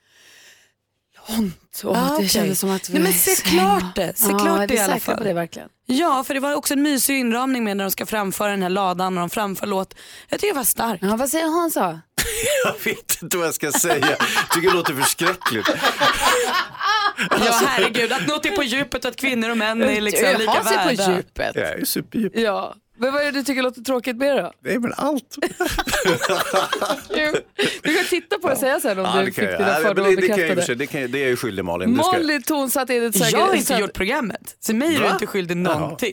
A: långt och
D: Ah,
A: det
D: okej.
A: kändes som att vi...
D: Nej, men se klart det, se
A: ja,
D: klart
A: är
D: det
A: vi
D: i alla
A: säkra
D: fall.
A: på det verkligen?
D: Ja, för det var också en mysig inramning med när de ska framföra den här ladan och de framför låt. Jag tycker det var starkt.
A: Ja, vad säger Hansa?
C: [laughs] Jag vet inte vad jag ska säga. Jag tycker det låter förskräckligt.
D: Ja herregud, att något är på djupet och att kvinnor och män är liksom
A: Jag
D: lika
A: har sig på
D: värda.
A: djupet.
C: Jag är superdjup.
A: Ja. Men vad är det du tycker låter tråkigt med det då?
C: Nej men allt.
A: [laughs]
C: [laughs]
A: Du kan titta på det och säga sen om
C: Ja,
A: du
C: det kan
A: fick
C: jag.
A: dina
C: Ja, men det-
A: fördomar
C: det kan jag i och för sig-
A: bekräftade.
C: Det kan jag- det är jag ju skyldig Malin. Det ska jag.
A: Molly Tonsatt Edith Söder.
D: Jag har inte gjort programmet, så mig är du
C: Va?
D: inte skyldig någonting.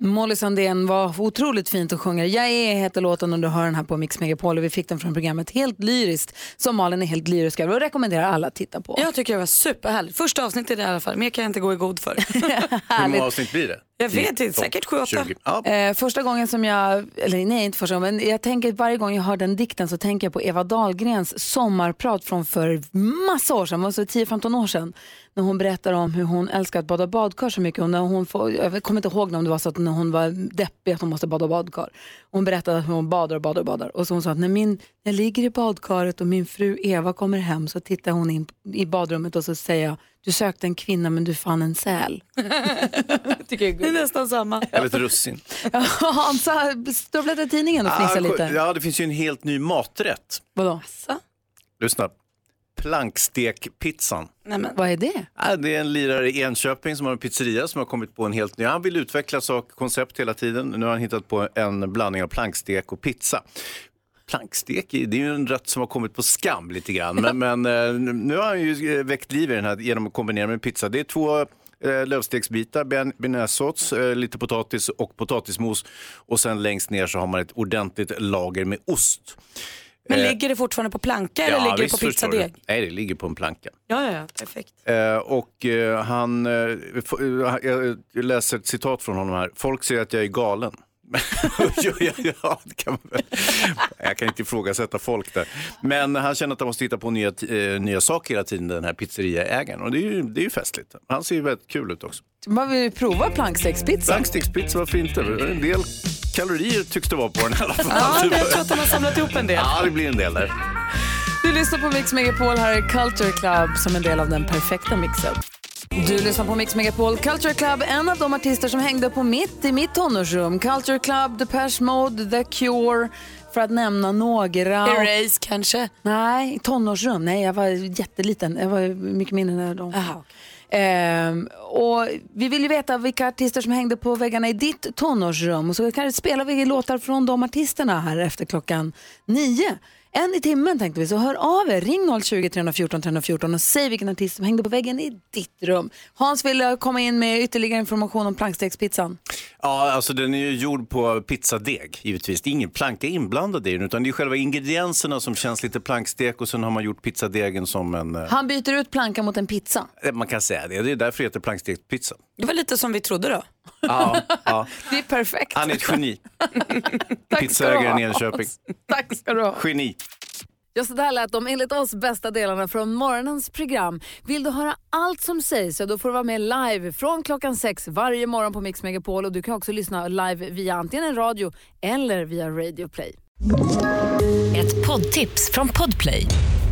A: Molly Sandén var otroligt fint och sjunger. Jag är heter låten och du hör den här på Mix Megapol och vi fick den från programmet Helt lyriskt som Malin är helt lyrisk över och rekommenderar alla att titta på.
D: Jag tycker det var superhärligt. Första avsnittet i alla fall, mer kan jag inte gå i god [laughs] för.
C: Hur många avsnitt blir det?
D: Jag vet inte,
C: 19,
D: säkert sju, åtta.
C: 20.
D: [laughs]
C: Ja.
A: Eh, första gången som jag, eller nej inte första gången, men jag tänker varje gång jag hör den dikten så tänker jag på Eva Dahlgrens sommarprat från för massa år sedan, alltså 10-15 år sedan. När hon berättar om hur hon älskar att bada badkar så mycket. Och när hon får, jag kommer inte ihåg om det var så att när hon var deppig att hon måste bada badkar. Hon berättade att hon badar och badar och badar. Och så hon sa att när, min, när jag ligger i badkaret och min fru Eva kommer hem så tittar hon in i badrummet och så säger jag, du sökte en kvinna men du fann en säl. [laughs]
D: Det är nästan samma.
C: Eller ett russin.
A: Ja, Hansa stövlade tidningen och fnissade
C: Ah,
A: lite.
C: Ja, det finns ju en helt ny maträtt.
A: Vadå?
C: Lyssna. Plankstekpizzan.
A: Vad är det?
C: Ja, Det är en lirare i Enköping som har en pizzeria som har kommit på en helt ny. Han vill utveckla sak, koncept hela tiden. Nu har han hittat på en blandning av plankstek och pizza. Plankstek, det är ju en rätt som har kommit på skam lite grann.
D: [laughs]
C: Men, men eh, nu har han ju eh, väckt liv i den här genom att kombinera med pizza. Det är två eh, lövstegsbitar, ben- bearnaisesås, eh, lite potatis och potatismos. Och sen längst ner så har man ett ordentligt lager med ost.
D: Men
C: Eh,
D: ligger det fortfarande på planka eller ligger det på
C: visst, förstår
D: pizzadeg?
C: du. Nej, det ligger på en planka.
D: Ja, ja, ja, perfekt.
C: Eh, och eh, han, eh, f- eh, jag läser ett citat från honom här. Folk säger att jag är galen. [laughs] ja, ja, ja, det kan man väl. Jag kan inte ifrågasätta folk där. Men han känner att han måste hitta på nya, t- eh, nya saker hela tiden, den här pizzeriaägaren. Och det är ju, det är ju festligt. Han ser ju väldigt kul ut också.
A: Man vill ju prova plankstekspizza.
C: Blankstickspizza, varför inte? En del kalorier tycks det vara på den i alla fall.
A: Ja, men jag tror
D: att de har samlat ihop en del.
C: Ja, det blir en del där.
A: Du lyssnar på Mix Megapol, här är Culture Club som en del av den perfekta mixen. Du lyssnar på Mix Megapol Culture Club, en av de artister som hängde på mitt i mitt tonårsrum. Culture Club, Depeche Mode, The Cure, för att nämna några.
D: Erase kanske?
A: Nej, tonårsrum. Nej, jag var jätteliten. Jag var mycket mindre när de kom. Ehm, och vi vill ju veta vilka artister som hängde på väggarna i ditt tonårsrum. Och så kan spelar vi låtar från de artisterna här efter klockan nio. En i timmen tänkte vi, så hör av er. Ring 020 314 314 och säg vilken artist som hängde på väggen i ditt rum. Hans vill eh, komma in med ytterligare information om plankstekspizzan.
C: Ja, alltså den är ju gjord på pizzadeg givetvis. Det är ingen planka inblandad i den utan det är själva ingredienserna som känns lite plankstek och sen har man gjort pizzadegen som en... eh,
A: Han byter ut plankan mot en pizza.
C: eh, Man kan säga det, det är därför det heter plankstektpizza.
D: Det var lite som vi trodde då. [laughs]
C: Ja, ja.
A: Det är perfekt.
C: Han är ett
A: [laughs]
C: geni.
A: Tack ska du ha,
C: Pizzaägaren i Enköping.
A: Hans. Tack ska du ha.
C: Geni.
A: Ja, så där lät de enligt oss bästa delarna från morgonens program. Vill du höra allt som sägs så då får du vara med live från klockan sex varje morgon på Mix Megapol och du kan också lyssna live via antingen en radio eller via Radio Play.
W: Ett poddtips från Podplay.